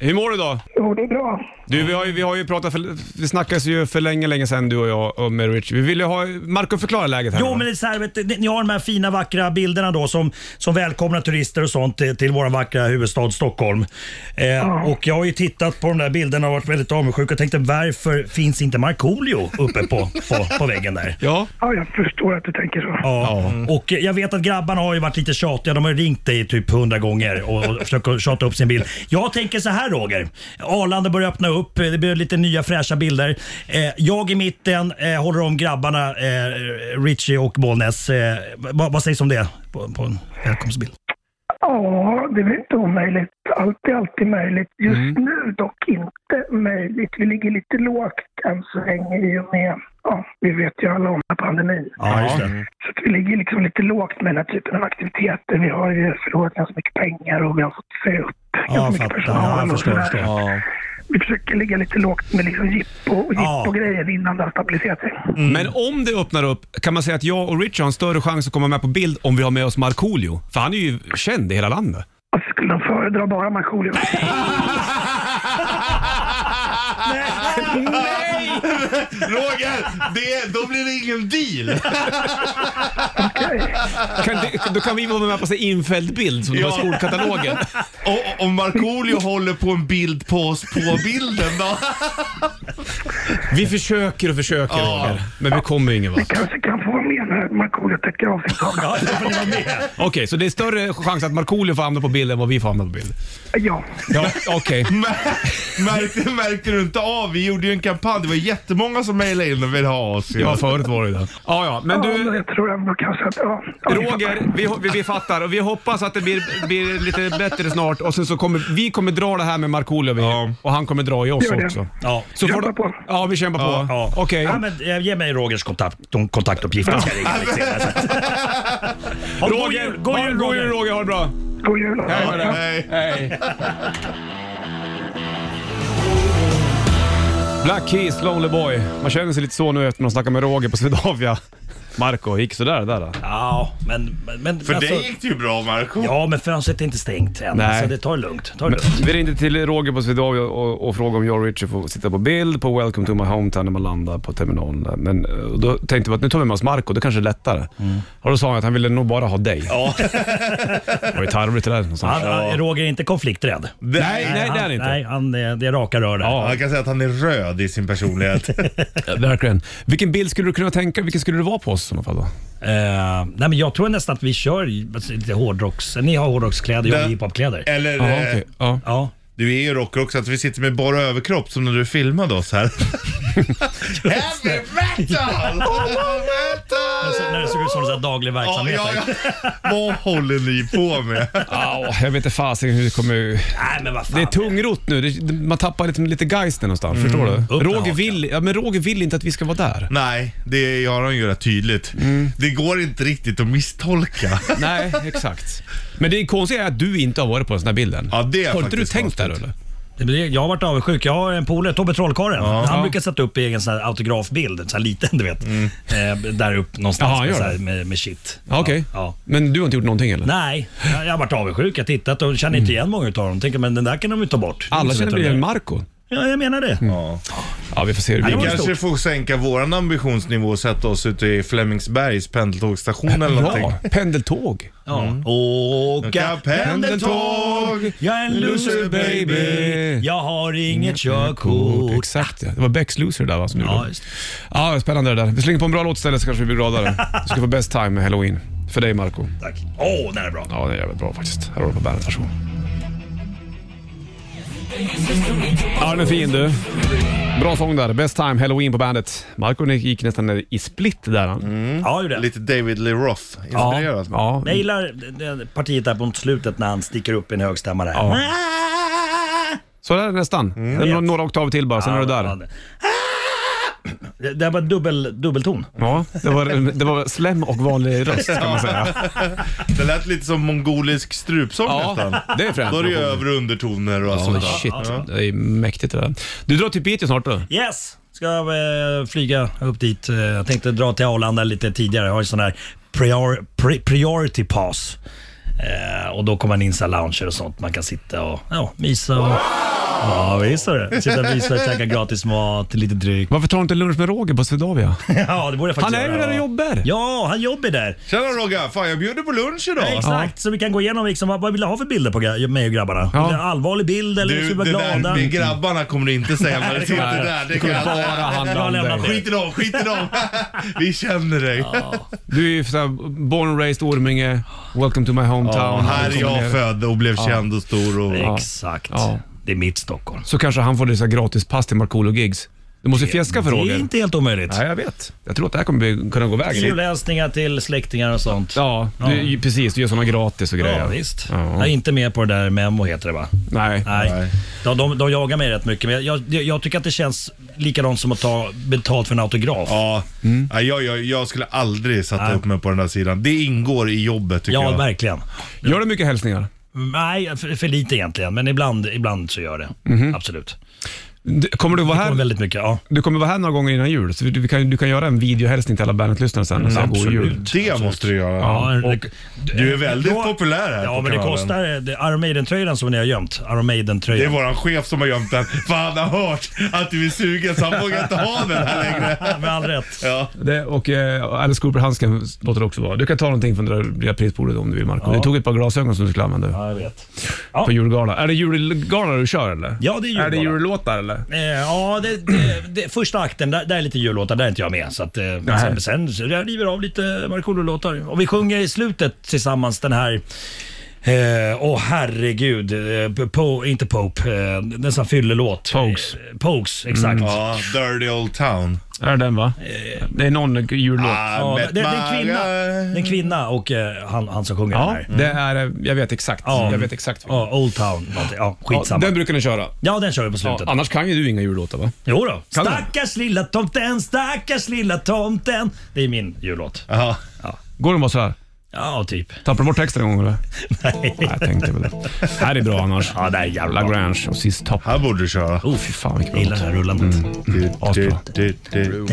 Du- Hur mår du idag? Jo, det är bra. Du, vi har ju, vi har ju pratat, för, vi snackades ju för länge, länge sedan du och jag och med Rich. Vi ville ha, Marco förklara läget här. Jo nu. men det är så här, vet du, ni har de här fina vackra bilderna då som, som välkomnar turister och sånt till, till vår vackra huvudstad Stockholm. Eh, Och jag har ju tittat på de där bilderna och varit väldigt avundsjuk och tänkte varför finns inte Markoolio uppe på, på, på väggen där? Ja, Ja, jag förstår att du tänker så. Ja. Och eh, jag vet att grabbarna har ju varit lite tjatiga. De har ju ringt dig typ hundra gånger och, och försökt tjata upp sin bild. Jag tänker så här Roger. Arlanda börjar öppna upp. eh, Det blir lite nya fräscha bilder. Eh, jag i mitten eh, håller om grabbarna eh, Richie och Bollnäs. Eh, vad, vad sägs om det på, på en välkomstbild? Ja, det är väl inte omöjligt. Allt är alltid möjligt. Just nu dock inte möjligt. Vi ligger lite lågt än så länge i och med, ja, vi vet ju alla om pandemin. Ja, just det. Så att vi ligger liksom lite lågt med den här typen av aktiviteter. Vi har ju förlorat ganska mycket pengar och vi har fått säga upp ganska Ja, mycket fattar. Ja, personal. jag och förstår. sådär. förstår. Vi försöker ligga lite lågt med liksom jippo och Ja. jippo-grejer innan det har stabiliserat sig. Mm. men om det öppnar upp kan man säga att jag och Rich har en större chans att komma med på bild om vi har med oss Markoolio. För han är ju känd i hela landet. Varför skulle de föredra bara Markoolio? Roger, det, då blir det ingen deal. Kan det, då kan vi vara med på en infälld bild som det var i Ja. skolkatalogen. Och- Om Markoolio håller på en bild på oss på bilden då? Vi försöker och försöker Ja. Roger, men vi kommer ingen vart. Kanske kan få vara med när Markoolio täcker av sin tavla. Ja, då får ni vara med. Okej, så det är större chans att Markoolio får hamna på bild än vad vi får hamna på bild. Ja, Ja, okej. Mär- Märkte, märkte du inte av? Vi gjorde ju en kampanj. Det var jättemånga som mejlade in och ville ha oss. Ja, förut var det ju det. Ja, ja, men ja, du... men jag tror ändå kanske att... Ja, ja, vi fattar. Roger, vi, vi, vi fattar och vi hoppas att det blir, blir lite bättre snart och sen så kommer vi kommer dra det här med Markoolio vi- och han kommer dra i oss Gör det. också. Ja. Så får Kämpa du- på. Ja, vi kämpar på. Ja. Okej. Ja, men, eh, ge mig Rogers kontakt, de kontaktuppgifter. Jag ska ringa lite senare. Ha, god Roger, jul, god jul, god jul Roger, ha det bra. God jul! Hej med dig. Nej. Hej. Black Keys, Lonely Boy. Man känner sig lite så nu efter man snackar med Roger på Swedavia. Marco, gick sådär där. då. Ja, men... men, men alltså- För dig gick det ju bra Marco. Ja, men fönstret är inte stängt än. Nej. Så det tar det lugnt. Ta det lugnt. Vi ringde till Roger på Swedavia och, och frågade om jag och Richard får sitta på bild på Welcome to my hometown när man landar på terminalen. där. Men eh, då tänkte vi att nu tar vi med oss Marco, det kanske är lättare. Och då sa han att han ville nog bara ha dig. Mm. Ja. det var ju tarvligt det där någonstans. Han, han, Roger är inte konflikträdd. Nej, nej det är han inte. Nej, han, är- det är raka rör där. Ja, Jag kan säga att han är röd i sin personlighet. Verkligen. Vilken bild skulle du kunna tänka Vilken skulle du vara på oss i alla fall. Då. Eh, nej men jag tror nästan att vi kör lite hårdrocks... Ni har hårdrockskläder, jag har Det- hiphopkläder. Eller, Ja, eh, okej. ja. Ja. du är ju rocker också, att vi sitter med bara överkropp som när du filmade oss här. Heavy metal! Alltså, när det såg ut som en sån här daglig Ja, verksamhet. ja, ja. Vad håller ni på med? Ja, jag vet inte fasen hur det kommer... Nej men vad fan. Det är tungrot nu. Det, man tappar lite, lite geisten någonstans. Mm. Förstår du? med Roger hakan. vill, ja, men Roger vill inte att vi ska vara där. Mm. Nej, det har han ju rätt tydligt. Det går inte riktigt att misstolka. Nej, exakt. Men det konstiga är att du inte har varit på den här bilden. Ja, det är har inte du faktiskt tänkt där konstigt. eller? Det blir- Jag har varit avundsjuk. Jag har en polare, Tobbe Trollkarlen. Han brukar sätta upp egen sån här autografbild, en sån här liten du vet. Mm. Eh, där upp någonstans Jaha, han med, gör så här, det? med, med shit. Ja, Okej. Ja, ja. Men du har inte gjort någonting eller? Nej, jag jag har varit avundsjuk. Jag har tittat och känner inte igen många av dem. Tänker men den där kan de ju ta bort. Mm. Alla Så känner vet väl jag igen det. Marco Ja, jag menar det. Mm. Ja, vi får se hur det Ja, blir. det var- Kanske får sänka våran ambitionsnivå och sätta oss ute i Flemingsbergs pendeltågstation eller någonting. Bra, pendeltåg. Mm. Ja. Åka Åka pendeltåg. Jag är en loser baby. Jag har inget Cool. körkort. Mm, Exakt ja. Det var Becks Loser där va? Som du Oh. Ja, gjorde. just det. ja, spännande det där. Vi slänger på en bra låt istället så kanske vi blir gladare. Du ska få best time med halloween. För dig Marco Tack. Åh, oh, den är bra. Ja, det är jävligt bra faktiskt. Här har du på bandet, varsågod. Ja, den är fin du. Bra sång där. Best time, halloween på bandet. Marco gick nästan ner i split där han. Mm, Ja, ju det. Lite David Lee Roth inspirerat. ja. Jag gillar det- det- partiet där på slutet när han sticker upp i en högstämma där. Ah! Ja. Så där är det nästan. Mm. Det är vet. några oktaver till bara, sen är du Ja, där. det- Ah! Det det var dubbel, dubbelton. Ja, det var, det var slem och vanlig röst kan man säga. Det lät lite som mongolisk strupsång nästan. Ja, det är fränt. Då är det ju över och undertoner och allt sånt Ja, där. shit, det är mäktigt det där. Du drar till Piteå snart då? Yes! Ska eh, flyga upp dit. Eh, Jag tänkte dra till Arlanda lite tidigare. Jag har ju sån här prior, pri, priority pass. Eh, och då kommer man in i lounger och sånt. Man kan sitta och ja, mysa. Och, Ja, visst är det. Sitta och mysa, käka gratis mat, lite dryck. Varför tar du inte lunch med Roger på Swedavia? Ja, det borde jag faktiskt Han är ju göra, där och ja. jobbar. Ja, han jobbar där. Tjena Rogga, fan jag bjuder på lunch Ja, idag. exakt, så vi kan gå igenom liksom, vad, vad vill du ha för bilder på gra- mig och grabbarna? Ja. Vill du ha en allvarlig bild eller Du, ska vi vara det där glada? med grabbarna kommer du inte säga men det sitter kommer- där. Det det kommer kan- bara handla om Jag lämnar dig. Skit i dem, skit i dem. Vi känner dig. Du är ju såhär, born and raised Orminge, welcome to my hometown. Ja, här är jag född och blev känd och stor. Och... Exakt. Ja. Det är mitt Stockholm. Så kanske han får det så här gratis pass till Markoolio-gigs. Du måste fjäska för Det är Roger. inte helt omöjligt. Nej, jag vet. Jag tror att det här kommer bli- kunna gå vägen. Julhälsningar till släktingar och sånt. Ja, du, ju- precis. Du gör såna gratis och grejer. Ja, visst. Ja. Jag är inte med på det där Memo heter det va? Nej. Nej. Nej. De, de, de jagar mig rätt mycket, men jag, jag, jag tycker att det känns likadant som att ta betalt för en autograf. Ja, ja jag, jag, jag skulle aldrig sätta upp mig på den där sidan. Det ingår i jobbet tycker Ja, jag. verkligen. Gör du mycket hälsningar? Nej, för, för lite egentligen, men ibland, ibland så gör det. Mhm. Absolut. Du- Kommer du vara Och här? väldigt mycket. Ja. Du kommer vara här några gånger innan jul, så du, du, kan, du kan göra en videohälsning till alla Bandet-lyssnare sen. och säga god jul. Det måste du göra. Ja, och det- Du är väldigt Då- populär här Ja, på men det kanalen. kostar. Det, Iron Maiden-tröjan som ni har gömt. Iron Det är Maiden-tröjan. våran chef som har gömt den, för han har hört att du är sugen så han vågar inte ha den här längre. Med all rätt. Ja. Det, och eh, Alice Cooper-handsken låter det också vara. Du kan ta någonting från det där lilla prisbordet om du vill, Marco. Du tog ett par glasögon som du skulle använda Ja, jag vet. på julgala. Är det julgala du kör eller? Ja, det är Är det julgala. jullåtar eller? Eh, ja, det, det, det, första akten, där, där är lite jullåtar, där är inte jag med. Så att, eh, men sen, sen så jag river av lite Markoolio-låtar. Och vi sjunger i slutet tillsammans den här Åh eh, åh, herregud, eh, po, inte Pope, eh, den som fyller låt. Pogues. Eh, Pogues, Mm. exakt. ja, Dirty Old Town. Är det den va? Eh. Det är någon jullåt. Ja, Ah, det, det är en kvinna, det är en kvinna och eh, han, han som sjunger den Ja, här. det är, eh, jag vet exakt. Mm. Ja. Jag vet exakt. Ja, Old Town, någonting. ja, Ja, skitsamma. den brukar ni köra. Ja, den kör vi på Ja, slutet. annars kan ju du inga jullåtar va? Jo då. Kan du? Stackars lilla tomten, stackars lilla tomten. Det är min jullåt. Ja. Går de bara så här? Ja, typ. Tappar de bort texten en gång eller? Nej. Nej, jag tänkte väl det. Det här är bra annars. Ja, det här är jävla bra. Lagrange och sist topp. Här borde du köra. Oh, fy fan vilken Jag bra gillar låt. Mm, det här rullandet. Asbra. Du, du, du.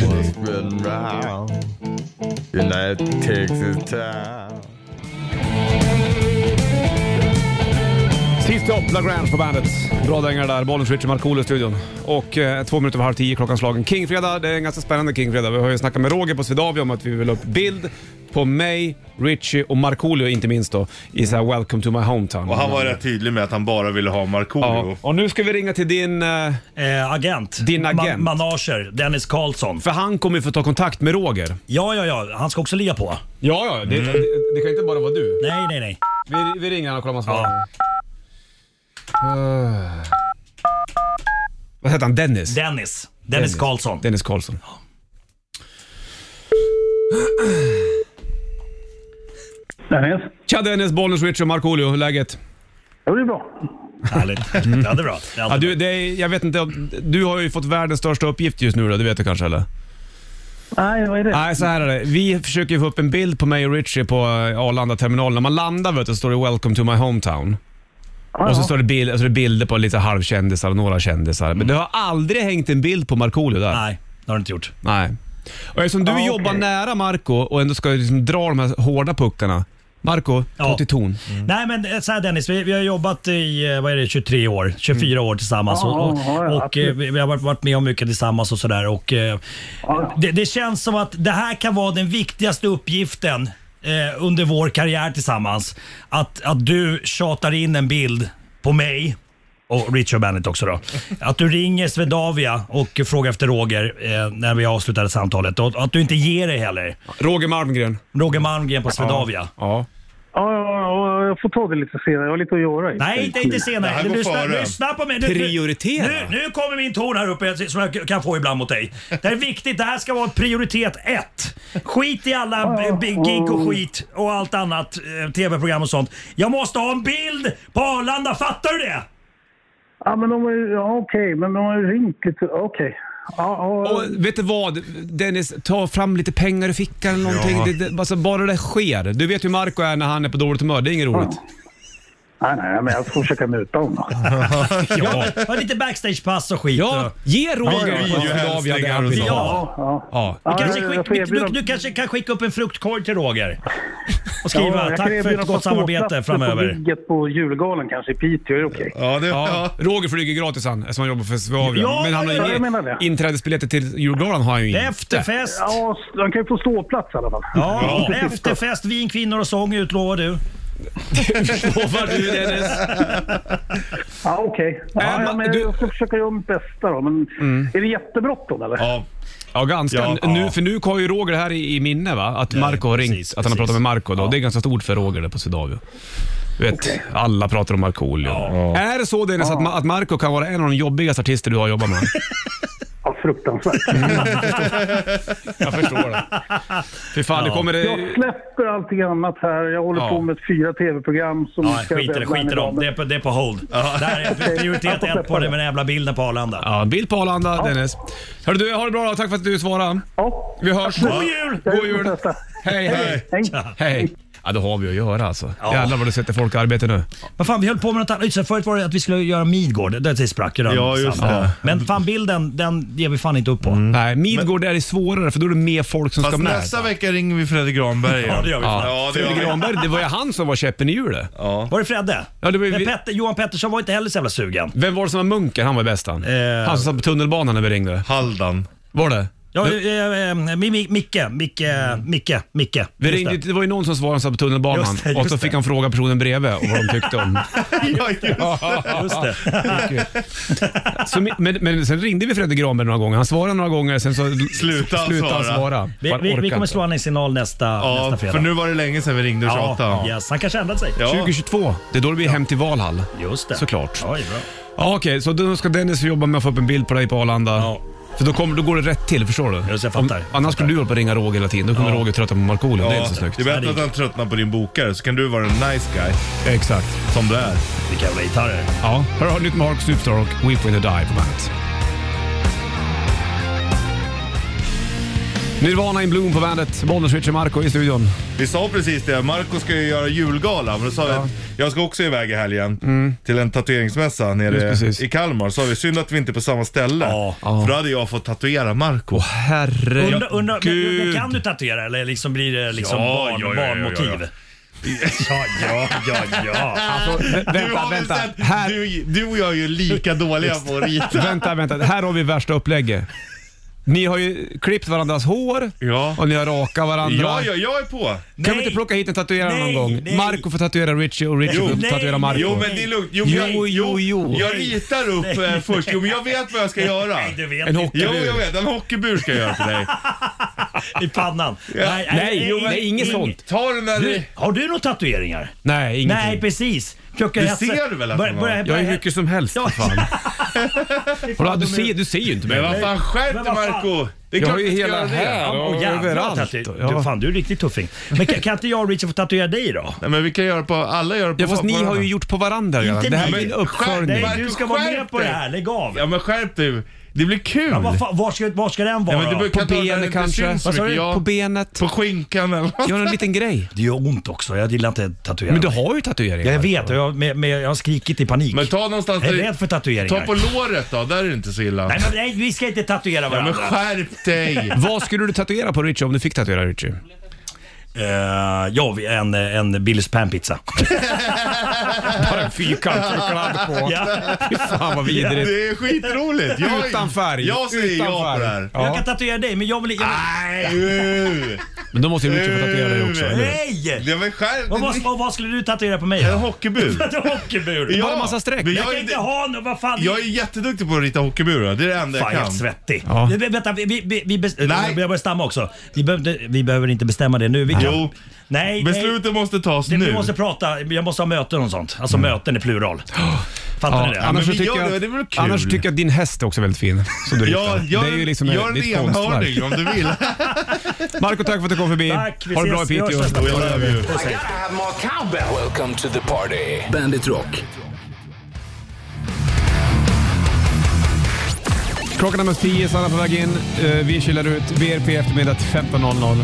Sist topp, Lagrange på bandet. Bra dängare där. Bollens Richard Markoolio i studion. Och eh, två minuter över halv tio, klockan slagen. Kingfredag, det är en ganska spännande Kingfredag. Vi har ju snackat med Roger på Swedavia om att vi vill ha upp bild på mig, Richie och Markoolio inte minst då i så här “Welcome to my hometown”. Och han var rätt tydlig med att han bara ville ha Markoolio. ja. Och nu ska vi ringa till din... eh, Eh, agent. Din agent. manager, Dennis Karlsson. För han kommer ju få ta kontakt med Roger. Ja, ja, ja. Han ska också ligga på. Ja, ja. Det, det, det kan inte bara vara du. Nej, nej, nej. Vi, vi ringer honom och kollar om han svarar. Eh. Ja. Vad heter han? Dennis? Dennis. Dennis Karlsson. Dennis Karlsson. Dennis? Tja Dennis, Bollnäs, Richie och Markoolio. Hur är läget? Jo, det är bra. Härligt. Ja, det är bra. Det är Ja, alltid du, det är, jag vet inte, om- du har ju fått världens största uppgift just nu då, det vet du kanske eller? Nej, vad är det? Nej, så här är det. Vi försöker ju få upp en bild på mig och Richie på eh, Arlanda-terminalen. När man landar vet du, så står det “Welcome to my hometown”. Ja, Och så ja. står det, bild, alltså det är bilder på lite halvkändisar och några kändisar. Men det har aldrig hängt en bild på Markoolio där. bra. Nej, det har du inte gjort. Nej. Och eftersom du Ja, jobbar okej. nära Marco och ändå ska liksom dra de här hårda puckarna. Marco, ta Ja. till ton. Nej men eh, så här Dennis, vi, vi har jobbat i eh, vad är det, 23 år, 24 år tillsammans. Mm. Ja, och, och, ja, ja, och eh, vi vi har varit- varit med om mycket tillsammans och sådär. Och, eh, Ja. det, det känns som att det här kan vara den viktigaste uppgiften eh, under vår karriär tillsammans. Att, att du tjatar in en bild på mig och Richard Bennett också då. Att du ringer Swedavia och frågar efter Roger eh, när vi avslutade samtalet. Och att du inte ger dig heller. Roger Malmgren. Roger Malmgren på Swedavia. Ja. Ja, ja, ja, jag får ta det lite senare. Jag har lite att göra. Nej, inte, inte senare. Det här går lyssna, före. lyssna på mig. Nu, Prioritera. Nu, nu kommer min ton här uppe som jag kan få ibland mot dig. Det här är viktigt. Det här ska vara prioritet ett. Skit i alla eh, b- gig och skit och allt annat. eh, Tv-program och sånt. Jag måste ha en bild på Arlanda. Fattar du det? Ja, men de har ju... Ja, okej. Men de har ju ringt lite... Okej. Ja, ja. Och vet du vad? Dennis, ta fram lite pengar i fickan eller någonting. Ja. Det, det, alltså, bara det sker. Du vet hur Marco är när han är på dåligt humör. Det är inget roligt. Nej, nej, men jag får försöka muta honom. Ja. Ha lite backstagepass och skit. Ja, ge Roger Ja, ja. Swedavia det han vill ha. Ja, ja. Ja. Ja, Du kanske, jag- jag skick, får du, erbjuda- du, du kanske kan skicka upp en fruktkorg till Roger. Och Ja, skriva jag kan tack för erbjuda ett gott samarbete platser På framöver. gigget på julgalan kanske i Piteå, är det okej? Ja, det, Ja, ja. Roger flyger gratis han eftersom han jobbar för Swedavia. Ja, Men han ja, jag menar har det. inget inträdesbiljetter till julgalan har han ju inte. Efterfest. Ja, s- han kan ju få ståplats i alla fall. Ja, efterfest, vin, kvinnor och sång utlovar du. Lovar du Dennis? Ja, okej. Äh, Ja, ja, men men du- Jag ska försöka göra mitt bästa då, men är det jättebråttom eller? ja. Ja, ganska. Ja, nu, ja. för nu har ju Roger det här i, i minne va? Att Marco har ringt, precis, att han har pratat precis. med Marco då. Det är ganska stort för Roger där på Swedavia. Du vet, alla pratar om Markoolio. Är det så Dennis att, Ma- att Marco kan vara en av de jobbigaste artister du har jobbat med? Ja, fruktansvärt. Jag förstår det. Fy fan, det kommer det... Jag släpper allting annat här. Jag håller Ja. på med fyra tv-program som... Ja, ska skit i det, deadline skit i idag, dem. men- Det är på, det är på hold. Där är prioritet Jag får ett på släppa den med den jävla bilden på Arlanda. Ja, bild på Arlanda, Dennis. Hörru du, ha det bra då. Tack för att du svarade. Ja. Vi hörs. God jul! Jag God gör mitt jul! bästa. Hej, hej! Hej. Hej! Ja, då har vi att göra alltså. Ja. Jävlar vad du sätter folk i arbete nu. Vad fan, vi höll på med något annat. Just det, Förut var det att vi skulle göra Midgård. Det- Det sprack ju den. Ja, just samma. det. Men fan bilden, den ger vi fan inte upp på. Nej, Midgård är det svårare för då är det mer folk som Fast ska med. nästa vecka ringer vi Fredrik Granberg igen. Ja, det gör vi. Ja, det gör Fredrik vi. Granberg, det var ju han som var käppen i hjulet. Var det Fredde? Ja, det var ju Men vi- Petter, Johan Pettersson var inte heller så jävla sugen. Vem var det som var munken? Han var bäst han. Eh. Han som satt på tunnelbanan när vi ringde. Haldan. Var det? Ja, eh, eh, Mi- Mi- Micke, Micke, Mm. Micke, Micke. Vi Just ringde, det. var ju någon som svarade som satt på tunnelbanan Just det, just och så det. fick han fråga personen bredvid och vad de tyckte om. Ja, just det. det. Just det. så, mi- men, men sen ringde vi Fredrik Granberg några gånger. Han svarade några gånger, sen så Slutade han han svara. svara. Vi, Han vi, vi orkade kommer inte. slå honom i signal nästa, Ja, nästa fredag. för nu var det länge sedan vi ringde och ja, tjatade. yes. Han kanske ändrat sig. Ja. 2022, det är då det blir hem till Valhall. Just det. Såklart. Oj, bra. Ja, Okej, så då ska Dennis jobba med att få upp en bild på dig på Arlanda. Ja. För då, kommer, då går det rätt till, förstår du? Just, jag fattar. Om, annars skulle du hålla på och ringa Roger hela tiden. Då kommer Roger trötta på Markoolio. det är inte så snyggt. det är bättre att han tröttnar på din bokare så kan du vara en nice guy Exakt. som du är. Vilka jävla gitarrer. Ja, här har du nytt med Hark Superstar och Weep When You Die på bandet. Nirvana in Bloom på bandet. Bollnäs, Richard Marco i studion. Vi sa precis det, Marco ska ju göra julgala, men då sa vi att jag ska också iväg i helgen till en tatueringsmässa Just nere precis. i Kalmar. Så sa vi, synd att vi inte är på samma ställe. Ja. För då hade jag fått tatuera Marco. Åh herre... Undra, undra, men, men Gud. kan du tatuera eller liksom blir det liksom Ja, barn, ja, ja, ja, barnmotiv? Ja, ja, ja, ja. Alltså, vä- Du, vänta, har väl vänta. sett, Här, du, du och jag är ju lika dåliga på att rita. vänta, vänta. Här har vi värsta upplägget. Ni har ju klippt varandras hår Ja. och ni har rakat varandra. Ja, ja, jag är på. Kan vi Nej. inte plocka hit en tatuerare Nej, någon gång? nej. Marco får tatuera Richie och Richie Jo, får nej, tatuera nej. Marco. Jo, men det är lugnt. Jo, Jo, jag, jo, jo. Jag ritar upp eh, först. Jo, men jag vet vad jag ska göra. Nej, du vet En inte. hockey- Jo, jag vet. En hockeybur ska jag göra till dig. I pannan. Nej, jo, nej, inget Mm. ing- sånt. Ta den där... Du, har du några tatueringar? Nej, ingenting. Nej, precis. Klockan alltså- Du hetsa- ser väl att Börja- de har- börja- jag är börja- hur mycket som helst. Ja. Fan. Vadå, du, ser, du ser ju inte Men mig. vad fan, skärp Men dig vad fan. Marco Det är Jag klart har ju du ska hela göra det. här Ja, och och jävlar, överallt. tatu- Ja. du, fan, du är riktigt tuffing. Men kan, kan inte jag och Richard få tatuera dig då? Nej, men vi kan göra på... Alla gör på Ja, fast på ni har varandra. ju gjort på varandra redan. Inte Det här ni. är en Men uppföljning. Nej, Marco, du ska vara med skärp på det dig. här. Lägg av. Ja, men skärp dig. Det blir kul. Ja, vad fan, var, ska, var ska den vara Ja, men du då? brukar- På kan ta den där benet det kanske? syns så mycket. Ja. På benet? På skinkan eller nåt. Gör en liten grej. Det gör ont också. Jag gillar inte tatueringar. Men du har ju tatueringar. Jag vet och jag, med, med, jag har skrikit i panik. Men ta någonstans... jag är där- rädd för tatueringar. Ta på låret då. Där är det inte så illa. nej, men, nej, vi ska inte tatuera Ja, varandra. men skärp dig. Vad skulle du tatuera på Richie om du fick tatuera Richie? Eh, ja, vi- en, en Billys panpizza. Bara en fyrkant och kladd på. ja. Fy fan vad vidrigt. Det är skitroligt. Jag, Utan färg. Jag säger Utan ja på färg. det här. Jag Ja. kan tatuera dig, men jag vill... Jag vill Nej, uh. Men då måste ju Richie få tatuera dig också, eller hur? nej! Det var skärp Och vad, dig. och vad skulle du tatuera på mig? En hockeybur. En hockeybur. Ja, Bara en massa streck. men Jag jag, kan är, inte ha någon, vad fan. jag är jätteduktig på att rita hockeyburar. Det är det enda Fan, jag jag är kan. svettig. Ja. Vi- vi- Vänta, vi, vi, vi, vi bes- Nej. jag börjar stamma också. Vi, behövde, vi behöver inte bestämma det nu. Vi kan. Jo. Nej, nej. Beslutet måste tas Det, nu. Mm. vi måste prata, jag måste ha möten och sånt. Alltså möten i plural. Fattar ni Ja, det? annars, men så vi tycker gör jag, det, det är väl kul. annars tycker jag att din häst är också väldigt fin. Som du Ja, ritar. gör, det är ju liksom gör en ditt konstverk. renhållning om du vill. Marco, tack för att du kom förbi. Tack, vi ha det bra i ses. Vi hörs Piteå. nästa We love you. Puss, hej. Have more cowbell. Welcome to the party. Bandit Rock. Klockan är mest 10, Sanna på väg in. Eh, Vi kilar ut BRP eftermiddag till 15.00.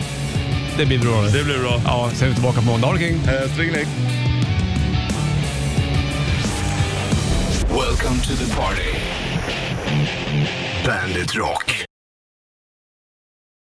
Det blir bra Det blir bra. Ja, sen är vi tillbaka på måndag. Ha det King. Eh, String dig. Welcome to the party. Bandit Rock.